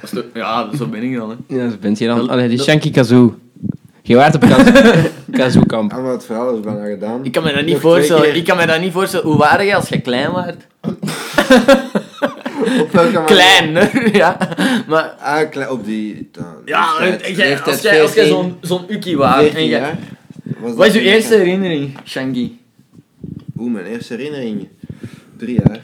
Dat is toch- Ja, zo ben ik dan. Hè. Ja, zo bent je dan. Dat- Allee, die dat- Shanky Kazoo. Je waart op Kazoo- Kazoo-kamp. Ah, maar het verhaal is bijna gedaan. Ik kan me dat niet Nog twee voorstellen. keer. Ik kan me dat niet voorstellen. Hoe waren jij als je klein was? Op welke manier? Klein, hè? Ja. Maar Ah, klein, op die... Dan, ja, leeftijd- jij- als leeftijd jij als jij 14, zo'n zo'n ukkie was. 14 en jij- jaar. Was Wat dat is je toen ik- eerste herinnering, Shanky? Oeh, mijn eerste herinnering. Drie jaar.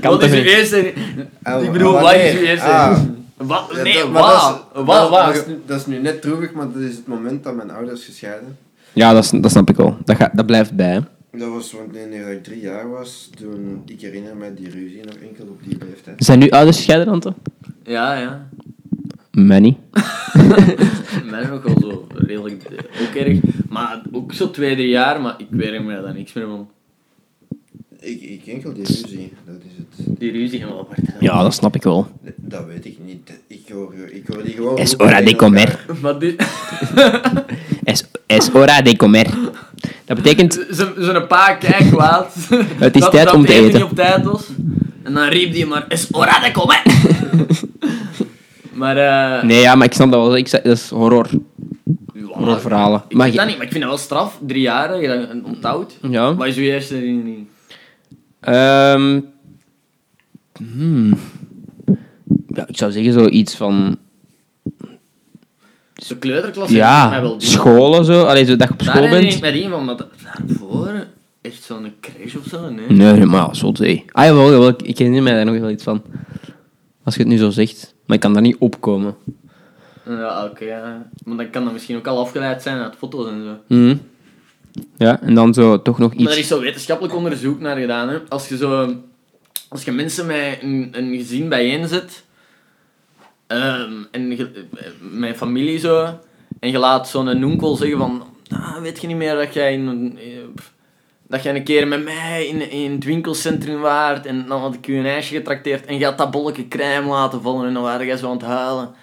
Kan Wat toch is je niet? eerste herinnering? Ah, Ik bedoel, ah, wat is wanneer? je eerste Ah. herinnering? Wat? Ja, Nee, dat- maar dat wauw. is- Wauw, dat- wauw. dat is- Dat is nu net droevig, maar dat is het moment dat mijn ouders gescheiden. Ja, dat, is- dat snap ik wel. Dat, ga, dat blijft bij. hè. Dat was wanneer ik drie jaar was, toen ik herinner me die ruzie nog enkel op die leeftijd. Zijn nu ouders gescheiden, Ante? Ja, ja. Manny. Mij is ook wel zo redelijk eh, ook erg. Maar ook zo twee, drie jaar, maar ik weet me daar niks meer van. Ik, ik enkel die ruzie, dat is het. Die ruzie gaan wel apart. zijn. Ja, dat snap ik wel. Dat weet ik niet. Ik hoor, ik hoor die gewoon. Es roepen hora de tegen comer. elkaar. Maar die, Es, es hora de comer. Dat betekent, ze, ze een paar kijk kwaad. Het is dat, tijd dat om te eten eten. niet op tijd was. En dan riep die maar, is hora de komen! maar eh... nee ja, maar ik snap dat wel. Ik, zeg- dat is horror. ja, Horrorverhalen. Ik Maar weet je- Mm. dat niet, maar ik vind dat wel straf. Drie jaar, hè, je bent onthoudt. Ja. Wat is je eerste herinnering? Ehm hmm. ja, ik zou zeggen zoiets van... De kleuterklas herinner ik mij Ja, wel die. scholen zo. Allee, zo dat je op Daar school herinner bent. ik mij die van, maar da- daarvoor... Echt zo'n crash of zo, nee. Nee, maar zo twee. Ah jawel, jawel, ik- ik herinner mij daar nog wel iets van. Als je het nu zo zegt. Maar ik kan daar niet opkomen. Ja, oké. ja. Maar dan kan dat misschien ook al afgeleid zijn uit foto's en zo. Mhm. Ja, en dan zo toch nog Maar er iets... is zo wetenschappelijk onderzoek naar gedaan. Hè. Als je zo... Als je mensen met een, een gezin bijeen zet... ehm, en je- eh, met familie zo... En je laat zo'n onkel zeggen van... Ah, weet je niet meer dat jij in... een- eh, pff, Dat jij een keer met mij in, in het winkelcentrum waart en dan had ik je een ijsje getrakteerd en je had dat bolletje crème laten vallen en dan waren jij zo aan het huilen.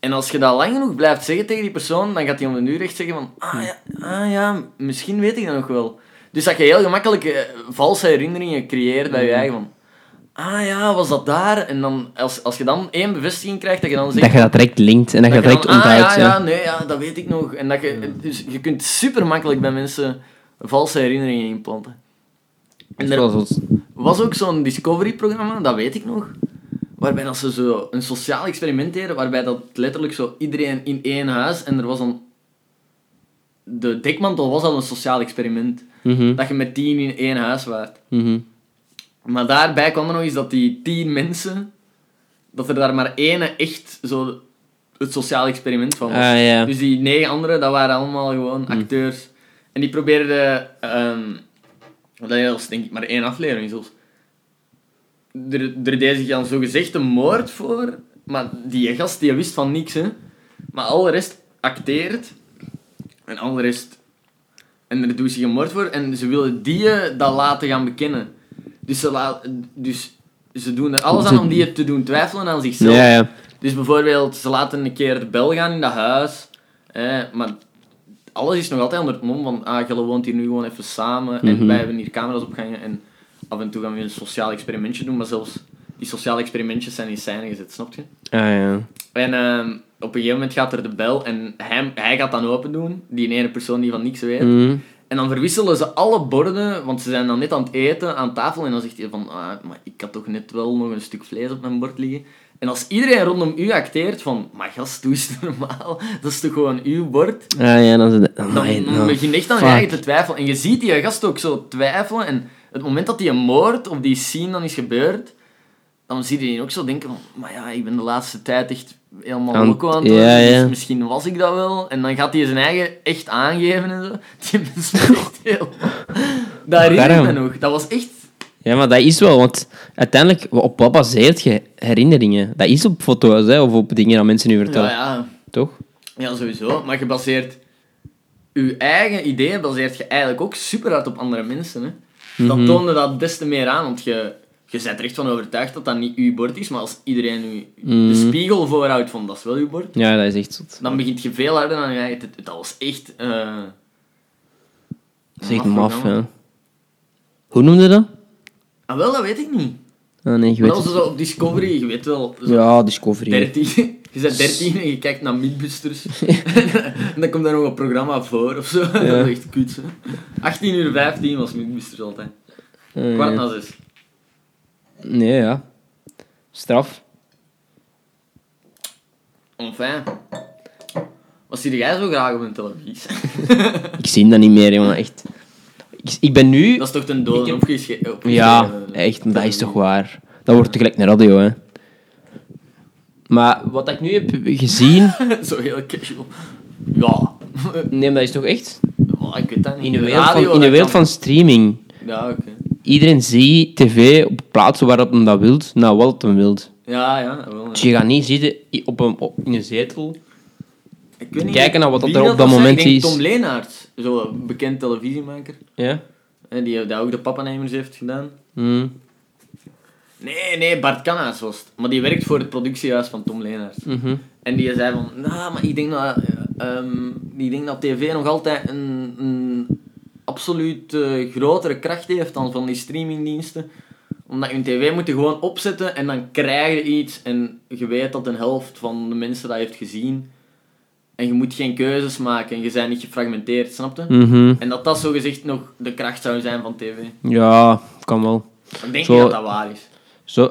En als je dat lang genoeg blijft zeggen tegen die persoon, dan gaat hij om de duur echt zeggen van... Ah ja, ah, ja misschien weet ik dat nog wel. Dus dat je heel gemakkelijk eh, valse herinneringen creëert bij je eigen van... Ah ja, was dat daar? En dan, als, als je dan één bevestiging krijgt, dat je dan zegt... Dat je dat direct linkt en dat je dat direct dan, ah, onthoudt. ja, ja, ja. nee, ja, dat weet ik nog. En dat je, dus je kunt super makkelijk bij mensen valse herinneringen inplanten. Dat En is er wel zo- was ook zo'n Discovery-programma, dat weet ik nog. Waarbij dat ze zo een sociaal experiment deden, waarbij dat letterlijk zo iedereen in één huis en er was een. De dekmantel was al een sociaal experiment. Mhm, Dat je met tien in één huis waart. mhm. Maar daarbij kwam er nog eens dat die tien mensen dat er daar maar ene echt zo het sociaal experiment van was. Ah, ja. Hm. Dus die negen anderen, dat waren allemaal gewoon acteurs. En die probeerden... ehm dat is denk ik maar één aflevering zelfs. Er, er deed zich dan zogezegd een moord voor. Maar die gast die wist van niks, hè. Maar al de rest acteert. En al de rest... En er doet zich een moord voor. En ze willen die eh, dat laten gaan bekennen. Dus ze, la- dus ze doen er alles aan om die te doen twijfelen aan zichzelf. Ja, ja. Dus bijvoorbeeld, ze laten een keer de bel gaan in dat huis. Hè, maar alles is nog altijd onder het mom van... Ah, jullie woont hier nu gewoon even samen. En Mhm. wij hebben hier camera's opgehangen. En af en toe gaan we een sociaal experimentje doen. Maar zelfs die sociale experimentjes zijn in scène gezet, snap je? Ah, ja. En ehm, op een gegeven moment gaat er de bel. En hij, hij gaat dan open doen. Die ene persoon die van niks weet. Mm. En dan verwisselen ze alle borden, want ze zijn dan net aan het eten aan tafel. En dan zegt hij van, ah, maar ik had toch net wel nog een stuk vlees op mijn bord liggen. En als iedereen rondom u acteert van, maar gast, doe eens normaal. Dat is toch gewoon uw bord? Ah, ja, dan is het... Dan, Amai, dan nou. begin je echt aan je Fuck. eigen te twijfelen. En je ziet die gast ook zo twijfelen. En het moment dat die een moord of die scene dan is gebeurd, dan zie je die ook zo denken van, maar ja, ik ben de laatste tijd echt helemaal Aan- loco aan het worden. ja, ja. Dus misschien was ik dat wel. En dan gaat hij zijn eigen echt aangeven en zo. Die mensen echt heel... Dat herinner ik me Daarom. nog. Dat was echt... Ja, maar dat is wel, want uiteindelijk, op wat baseert je herinneringen? Dat is op foto's, hè, of op dingen aan mensen nu Nou vertellen. ja, Toch? ja, sowieso. Maar gebaseerd... Je eigen ideeën baseert je eigenlijk ook super hard op andere mensen. Hè. Dat Mhm. toonde dat des te meer aan, want je, je bent er echt van overtuigd dat dat niet uw bord is. Maar als iedereen u de Mhm. spiegel voorhoudt van dat is wel uw bord, Ja, dat is echt zot. dan begint je veel harder aan je eigen te... Dat was echt... eh, Dat is echt maf maf, programma. ja. Hoe noemde je dat? Ah, wel, dat weet ik niet. Ah, nee, je weet Maar dat dus was het. zo op Discovery, je weet wel. dus Zo Ja, Discovery. Ah, 13. Je bent 13 en je kijkt naar Midbusters. en dan komt daar nog een programma voor of zo. Dat is echt kut. hè. 18 uur 15 was Midbusters altijd. Ah, Kwart ja. na zes. Nee, ja. Straf. Enfin. Wat zie jij zo graag op een televisie? Ik zie dat niet meer, jongen, echt. Ik, ik ben nu... dat is toch ten dode Ik heb- opgeschreven? Ja, echt, maar dat is toch waar. Dat wordt tegelijk naar radio, hè. Maar wat ik nu heb gezien... zo heel casual. Ja. Nee, maar dat is toch echt? Maar ik weet dat niet. In de wereld Radio, van, in de dat wereld kan- van streaming. Ja, oké. Iedereen ziet tv op plaatsen waarop hem dat wilt, naar wat hem wilt. Ja, ja. dat Wel, ja. Dus je gaat niet zitten i- op een, op, in een zetel. Ik weet niet Kijken naar wat wie dat er op dat was, hè. moment Ik denk is. Tom Leenaerts, zo'n bekend televisiemaker. Ja? hè, Die, die ook de Papanemers heeft gedaan. Mm. Nee, nee, Bart Kannaas was het. Maar die werkt voor het productiehuis van Tom Leenaerts. Mhm. En die zei van, nou, maar ik denk dat, eh, ehm, ik denk dat tv nog altijd een, een absoluut eh, grotere kracht heeft dan van die streamingdiensten. Omdat je een tv moet je gewoon opzetten en dan krijg je iets. En je weet dat een helft van de mensen dat heeft gezien. En je moet geen keuzes maken en je bent niet gefragmenteerd, snapte? Mhm. En dat dat zogezegd nog de kracht zou zijn van tv. Ja, kan wel. Ik denk Zo- niet dat dat waar is. Zo,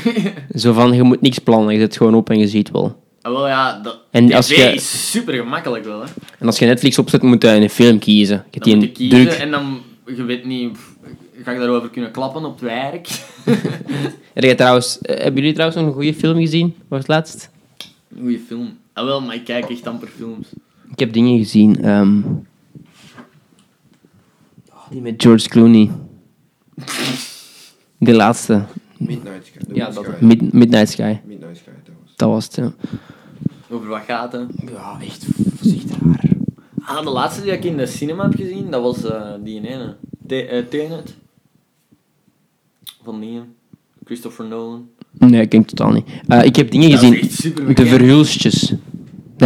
zo van, je moet niks plannen, je zet gewoon op en je ziet wel. Ah, wel ja, dat En TV als je- is super gemakkelijk wel, hè. En als je Netflix opzet, moet je een film kiezen. Je hebt Dan moet je die kiezen druk. en dan, je weet niet, pff, ga ik daarover kunnen klappen op het werk? Heb jij trouwens, eh, hebben jullie trouwens nog een goede film gezien? Wat was het laatst? Goeie film. Ah wel, maar ik kijk echt amper films. Ik heb dingen gezien. ehm, oh, die met George Clooney. De laatste. Midnight Sky. The Ja, Wind dat- Sky. Mid- Midnight Sky. Midnight Sky, dat was. Dat was het, ja. Over wat gaat het? Ja, echt voorzichtig raar. Ah, de laatste die ik in de cinema heb gezien, dat was eh, die ene. Te- eh, Tenet. Van die, Christopher Nolan. Nee, ik denk totaal niet. Eh, ik heb dingen Dat is gezien. echt superbekend. De Verhulstjes. Dat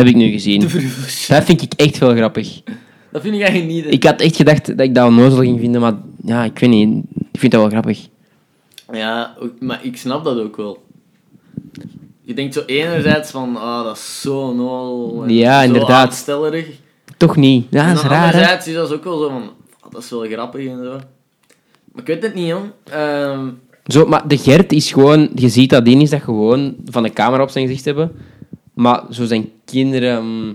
heb ik nu gezien. De verhuis. Dat vind ik echt wel grappig. Dat vind ik eigenlijk niet... hè. Ik had echt gedacht dat ik dat onnozel ging vinden, maar ja, ik weet niet. Ik vind dat wel grappig. Ja, ook- maar ik snap dat ook wel. Je denkt zo enerzijds van, ah, dat is zo nol. en Ja, zo inderdaad. aanstellerig. Toch niet. Ja, en dat is dan raar, hè? Nou, anderzijds is dat ook wel zo van, ah, dat is wel grappig en zo. Maar ik weet het niet, jong. Ehm, Zo, maar de Gert is gewoon... Je ziet dat die is dat gewoon van de camera op zijn gezicht hebben. Maar zo zijn kinderen... mm,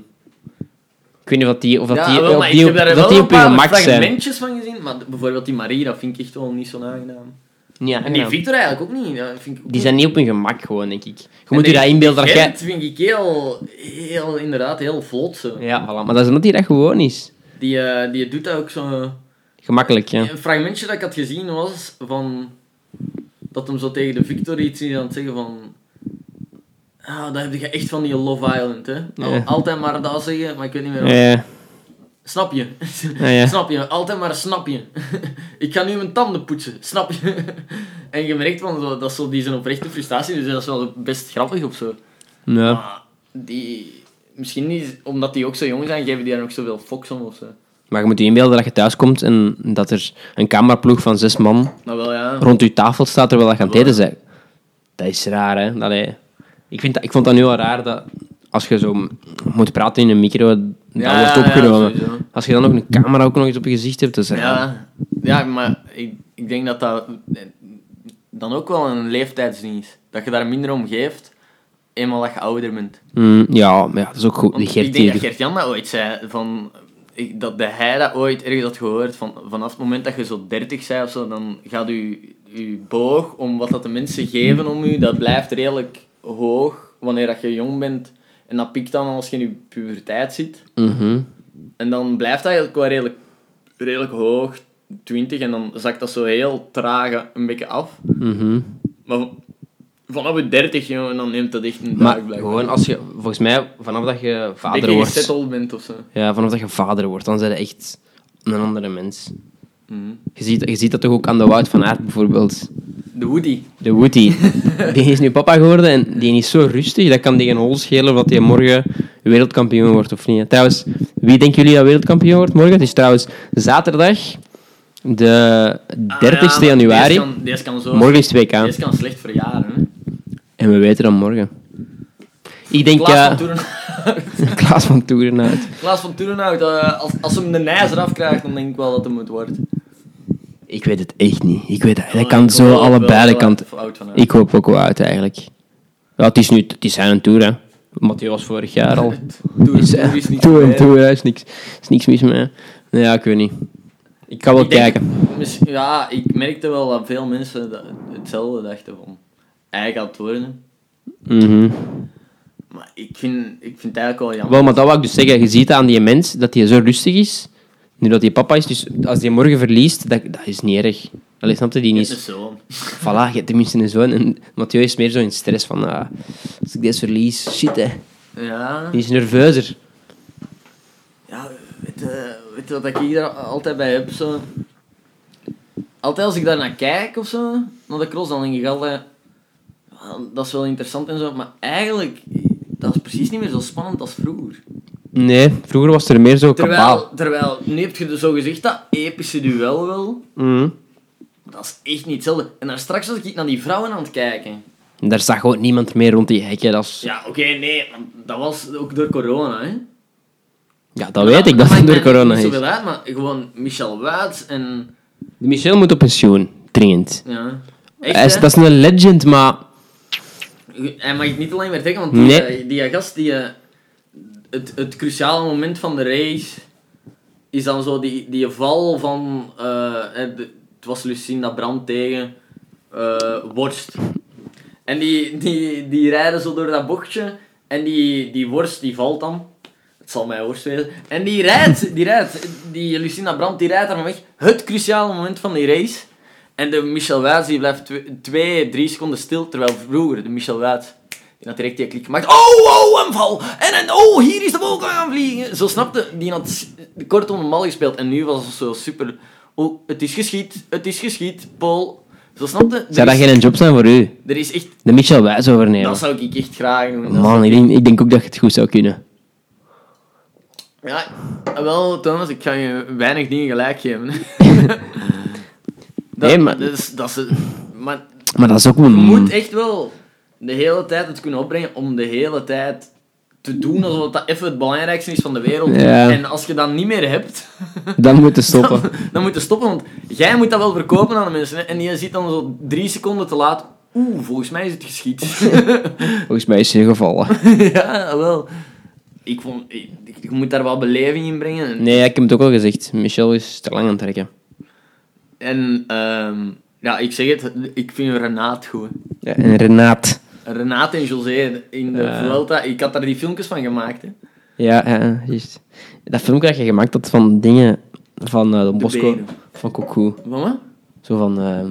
ik weet niet of dat die... Of dat ja, die, wel, of maar die, ik heb of daar dat wel die een op hun paar gemak zijn. fragmentjes van gezien. Maar d- bijvoorbeeld die Marie, dat vind ik echt wel niet zo aangenaam. Ja, En die ja. Victor eigenlijk ook niet. Dat vind ik ook Die zijn niet op hun gemak gewoon, denk ik. Je En moet je die- dat inbeelden dat die jij... Gent vind ik heel, heel, inderdaad, heel vlot zo. Ja, voilà. Maar dat is omdat hij dat gewoon is. Die, eh, die doet dat ook zo... Gemakkelijk, ja. Een fragmentje dat ik had gezien was van... Dat hem zo tegen de Victor iets is aan het zeggen van... Ah, dat heb je echt van die Love Island, hè. Al- Ja. Altijd maar dat zeggen, maar ik weet niet meer... wat. Eh, Snap je? Ja, ja. Snap je? Altijd maar snap je. ik ga nu mijn tanden poetsen. Snap je? en je merkt van, zo, dat is zo die zijn oprechte frustratie, dus dat is wel best grappig of zo. ja. Maar die... Misschien niet, omdat die ook zo jong zijn, geven die daar ook zoveel foks om of zo. Maar je moet je inbeelden dat je thuis komt en dat er een cameraploeg van zes man Maar wel, ja. rond je tafel staat terwijl dat je aan het eten bent. Dat is raar, hè. Dat, hij- ik, vind dat, ik vond dat nu al raar dat als je zo m- moet praten in een micro, dat Ja, ja, wordt ja, opgenomen. sowieso. als je dan ook een camera ook nog eens op je gezicht hebt, dat is raar. Ja, ja maar ik, ik denk dat dat eh, dan ook wel een leeftijdsding is. Dat je daar minder om geeft, eenmaal dat je ouder bent. Mm, ja, maar ja, dat is ook goed. Die Want Gert ik denk hier- dat Gert-Jan dat ooit zei, van, ik, dat de hij dat ooit ergens had gehoord, van, vanaf het moment dat je zo 30 bent of zo, dan gaat je, je boog om wat dat de mensen geven om je, dat blijft redelijk hoog wanneer dat je jong bent. En dat piekt dan als je in je puberteit zit. Mhm. En dan blijft dat eigenlijk wel redelijk, redelijk hoog, 20, en dan zakt dat zo heel traag een beetje af. mhm. Maar v- vanaf je 30, jongen, dan neemt dat echt een Maar duik blijkbaar. gewoon als je, volgens mij, vanaf dat je Een vader beetje wordt, gesetteld bent of zo. ja, vanaf dat je vader wordt, dan ben je echt een andere mens. Mhm. Je ziet, je ziet dat toch ook aan de Wout van Aert bijvoorbeeld. De Woody. De Woody. Die is nu papa geworden en die is zo rustig. Dat kan tegen een hol schelen of dat hij morgen wereldkampioen wordt of niet. hè. Trouwens, wie denken jullie dat wereldkampioen wordt morgen? Het is trouwens zaterdag, de 30 Ah, ja, maar januari. Deze kan, deze kan zo... Morgen is 2K. Deze kan slecht verjaren, hè. En we weten dan morgen. Ik denk Klaas Klaas van Toerenhout. van, Klaas van Toeren uit. Klaas van Toerenhout, eh, als, als hem de nijs eraf krijgt, dan denk ik wel dat hem het wordt. Ik weet het echt niet. Ik weet dat. Dat Oh, kan ik zo hoop wel allebei de dat kanten. hij fout van hem. Ik hoop ook wel uit eigenlijk. Ja, het is nu het is zijn tour, hè. Mathieu was vorig jaar al. Toeren- Dus, Toeren is eh, niet Tour en voorbij. tour, hè. is niks, is niks mis mee. Nee, ja, ik weet niet. Ik ga wel Ik denk- kijken. mis- ja, ik merkte wel dat veel mensen dat, hetzelfde dachten van... Hij gaat het worden. Mhm. Maar ik vind, ik vind het eigenlijk wel jammer. Wel, maar dat wou ik dus zeggen. Je ziet aan die mens dat hij zo rustig is. Nu dat hij papa is, dus als hij morgen verliest, dat, dat is niet erg. Allee, snapte die Het niet? is zo. Voilà, je hebt tenminste een zoon. En Mathieu is meer zo in stress van... ah, als ik deze verlies, shit hè. Ja, Die is nerveuzer. ja weet, je- weet je wat ik hier altijd bij heb? Zo? Altijd als ik daar naar kijk of zo, naar de cross, dan denk ik altijd... "Ah, Dat is wel interessant en zo, maar eigenlijk... Dat is precies niet meer zo spannend als vroeger. Nee, vroeger was er meer zo kabaal. Terwijl, terwijl nu heb je dus zo gezegd dat epische duel wel... Mhm. Dat is echt niet hetzelfde. En daar straks was ik naar die vrouwen aan het kijken. En Daar zag gewoon niemand meer rond die hekken. Dat is- ja. Ja, oké, nee, want dat was ook door corona, hè. dat weet ik, dat maakt het door mij corona Niet is. zoveel uit, maar gewoon Michel Wuits en... Michel moet op pensioen, dringend. Ja. Echt, Hij is, hè. dat is een legend, maar... Hij mag het niet alleen meer trekken, want die, Nee. eh, die gast, die, eh, het, het cruciale moment van de race is dan zo die, die val van... eh, hè, de- het was Lucinda Brand tegen eh, Worst. En die, die, die rijden zo door dat bochtje en die, die Worst die valt dan. Het zal mij worst wezen. En die rijdt, die rijdt, die Lucinda Brandt, die rijdt daarmee weg. Het cruciale moment van die race. En de Michel Wijs, die blijft twe- twee, drie seconden stil. Terwijl vroeger, de Michel Wijs, die had direct die klik gemaakt. Oh, oh, een val! En, en oh, hier is de wolk aan vliegen! Zo snapte, die had s- kort om de mal gespeeld. En nu was het zo super... Oh, het is geschiet, het is geschiet, Paul. Zo snapte... Er Zou dat is- geen job zijn voor u? Er is echt... De Michel Wijs overnemen. Dat zou ik echt graag doen. Dat Man, ik denk, ik denk ook dat je het goed zou kunnen. Ja, wel Thomas, ik ga je weinig dingen gelijk geven. dat, Nee, maar- Mm. dat is, dat is, maar Maar dat is ook... wel- je moet echt wel de hele tijd het kunnen opbrengen om de hele tijd te doen alsof dat even het belangrijkste is van de wereld. Ja. En als je dat niet meer hebt, Dan moet je stoppen. dan, dan moet je stoppen. Want jij moet dat wel verkopen aan de mensen. hè. En je ziet dan zo drie seconden te laat. Oeh, volgens mij is het geschiet. Volgens mij is hij gevallen. ja, wel. Ik vond, ik, ik- je moet daar wel beleving in brengen. En- Nee, ik heb het ook al gezegd. Michel is te lang aan het trekken. En ehm, Ja, ik zeg het, ik vind Renaat goed. Ja, en Renaat. Renaat en José in de Ja. Vuelta, ik had daar die filmpjes van gemaakt. Hè. Ja, ja, ja, juist. Dat filmpje dat je gemaakt had van dingen van eh Don De Bosco, benen. van Cocu. Van wat? Zo van... ehm,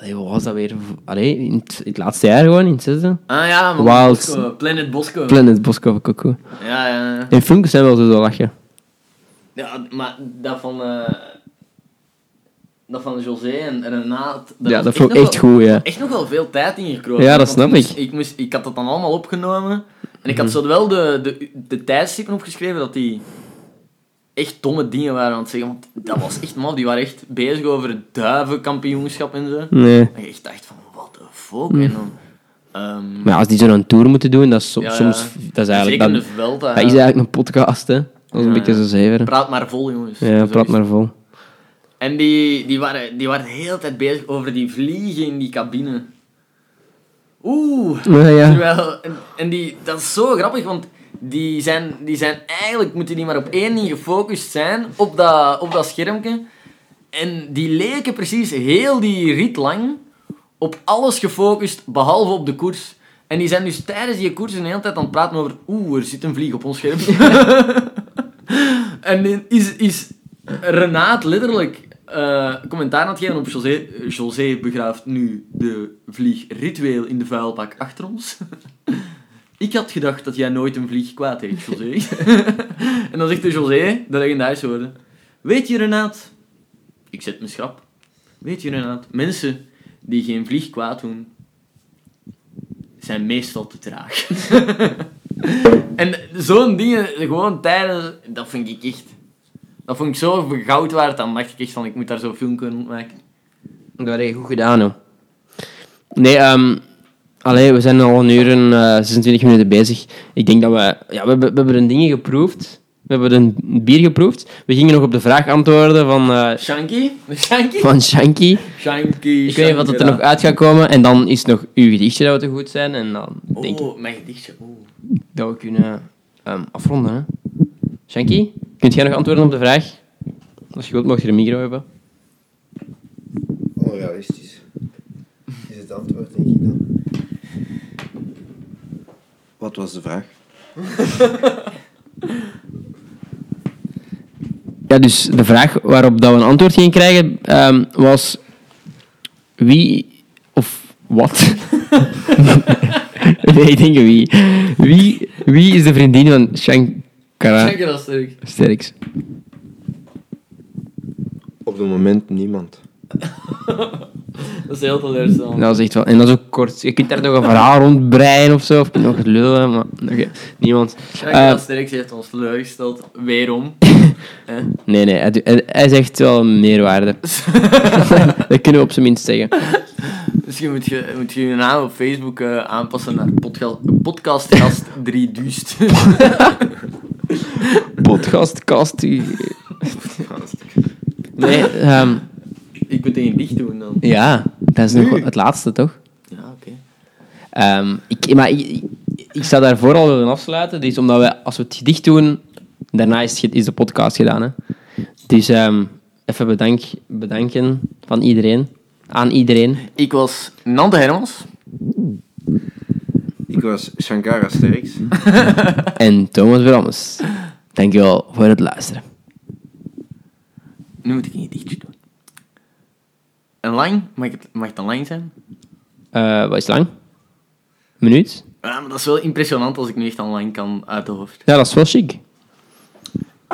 allee, wat was dat weer? Allee, in het, in het laatste jaar gewoon, in het zesde. Ah ja, van Wild. Bosco, Planet Bosco. Planet Bosco van Cocu. ja, ja, ja. En filmpjes zijn wel zo zo lachen. Ja, maar dat van... eh, dat van José en Renaat... ja, was dat vond ik nog echt wel- goed, ja. Echt nog wel veel tijd ingekropen. Ja, dat Want snap moest- ik. Mhm. Ik, moest, ik had dat dan allemaal opgenomen. En ik had zo wel de, de, de tijdstippen opgeschreven dat die echt domme dingen waren aan het zeggen. Want dat was echt mal. Die waren echt bezig over het duivenkampioenschap en zo. Nee. En je echt dacht van, what the fuck? Mhm. En dan... ehm, Maar als die zo'n tour moeten doen, dat is so- Ja, ja. soms... Dat is eigenlijk... zeker Dan, in de Vuelta. Dat is ja. eigenlijk een podcast, hè. Dat is een Ja, beetje ja. zo zever. Praat maar vol, jongens. Ja, Zo praat is maar vol. En die, die, waren, die waren de hele tijd bezig over die vliegen in die cabine. Oeh. Nou Ja, ja. Terwijl, en, en die, dat is zo grappig, want die zijn, die zijn eigenlijk, moeten die maar op één ding gefocust zijn, op dat, op dat schermpje. En die leken precies heel die rit lang op alles gefocust, behalve op de koers. En die zijn dus tijdens die koers een hele tijd aan het praten over, oeh, er zit een vlieg op ons schermpje. en die is, is Renaat letterlijk eh, commentaar aan het geven op José. Eh, José begraaft nu de vlieg ritueel in de vuilbak achter ons. Ik had gedacht dat jij nooit een vlieg kwaad heeft, José. en dan zegt de José, de legendarische woorden. Weet je, Renaat... Ik zet mijn schrap. Weet je, Renaat, mensen die geen vlieg kwaad doen, zijn meestal te traag. en zo'n dingen, gewoon tijdens... Dat vind ik echt... Dat vond ik zo goud waard. Dan dacht ik echt van, ik moet daar zo'n film kunnen maken. Dat heb je goed gedaan, hoor. Nee, ehm... Allee, we zijn al een uur en eh, 26 minuten bezig. Ik denk dat we... Ja, we, hebben- we hebben een ding geproefd. We hebben een bier geproefd. We gingen nog op de vraag antwoorden van, eh Shanky? Shanky? van Shanky. Shanky, Ik weet niet wat er nog uit gaat komen. En dan is nog uw gedichtje dat we te goed zijn. En dan denk ik Oh, mijn gedichtje. Oh. dat we kunnen ehm, afronden. Hè. Shanky, kunt jij nog antwoorden op de vraag? Als je wilt, mag je de micro hebben. Onrealistisch. Is het antwoord, denk ik dan. Wat was de vraag? Ja, dus de vraag waarop dat we een antwoord gingen krijgen ehm, was... Wie... Of wat? nee, ik denk wie. wie. Wie is de vriendin van Shankara Shanky, dat is leuk. Sterks? Op het moment niemand. Dat is heel teleurstellend. Dat is echt wel... En dat is ook kort. Je kunt daar nog een verhaal rondbreien of zo. Of nog lullen, maar... oké, niemand. Shanky, Eh, dat is leuk. Ze heeft ons teleurgesteld. Weerom. Eh? nee, nee. Hij, doet- hij, hij zegt wel een meerwaarde. dat kunnen we op zijn minst zeggen. Misschien moet je, moet je je naam op Facebook eh, aanpassen naar podga- podcastgast 3 duist. Podcast, kast... eh. Nee, ehm, ik moet een gedicht doen dan. Ja, dat is nog wel het laatste, toch? Ja, oké. Ehm, ik, maar ik, ik- ik zou daarvoor al willen afsluiten. Dus omdat we, als we het gedicht doen, daarna is, het ge- is de podcast gedaan. Hè? Dus ehm, even bedank, bedanken van iedereen. Aan iedereen. Ik was Nante Hermans. Ik was Shankara Sterks. En Thomas Brammes. Dankjewel voor het luisteren. Nu moet ik een gedichtje doen. En lang? Mag het, mag het een lang zijn? Eh, wat is het lang? Een minuut? Ja, maar dat is wel impressionant als ik nu echt aan lang kan uit de hoofd. Ja, dat is wel chic.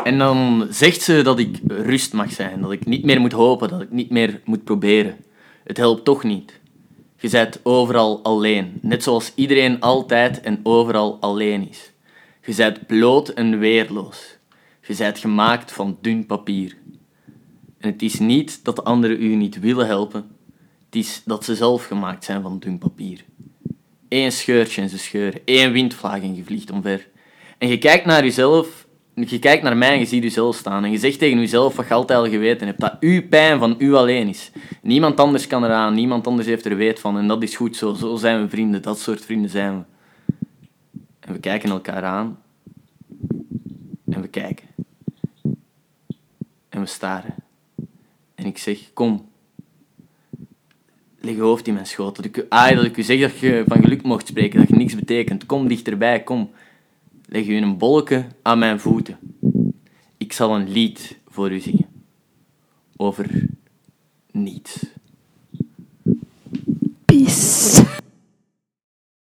En dan zegt ze dat ik rust mag zijn, dat ik niet meer moet hopen, dat ik niet meer moet proberen. Het helpt toch niet. Je bent overal alleen, net zoals iedereen altijd en overal alleen is. Je bent bloot en weerloos. Je bent gemaakt van dun papier. En het is niet dat de anderen u niet willen helpen, het is dat ze zelf gemaakt zijn van dun papier. Eén scheurtje en ze scheuren. Eén windvlaag en je vliegt omver. En je kijkt naar jezelf. Je kijkt naar mij en je ziet jezelf staan. En je zegt tegen jezelf wat je altijd al geweten hebt. Dat uw pijn van u alleen is. Niemand anders kan eraan. Niemand anders heeft er weet van. En dat is goed zo. Zo zijn we vrienden. Dat soort vrienden zijn we. En we kijken elkaar aan. En we kijken. En we staren. En ik zeg, kom. leg je hoofd in mijn schoot. Dat ik, u- ah, dat ik u zeg dat je van geluk mocht spreken, dat je niks betekent. Kom dichterbij, kom. Leg je in een bolke aan mijn voeten. Ik zal een lied voor u zingen. Over niets.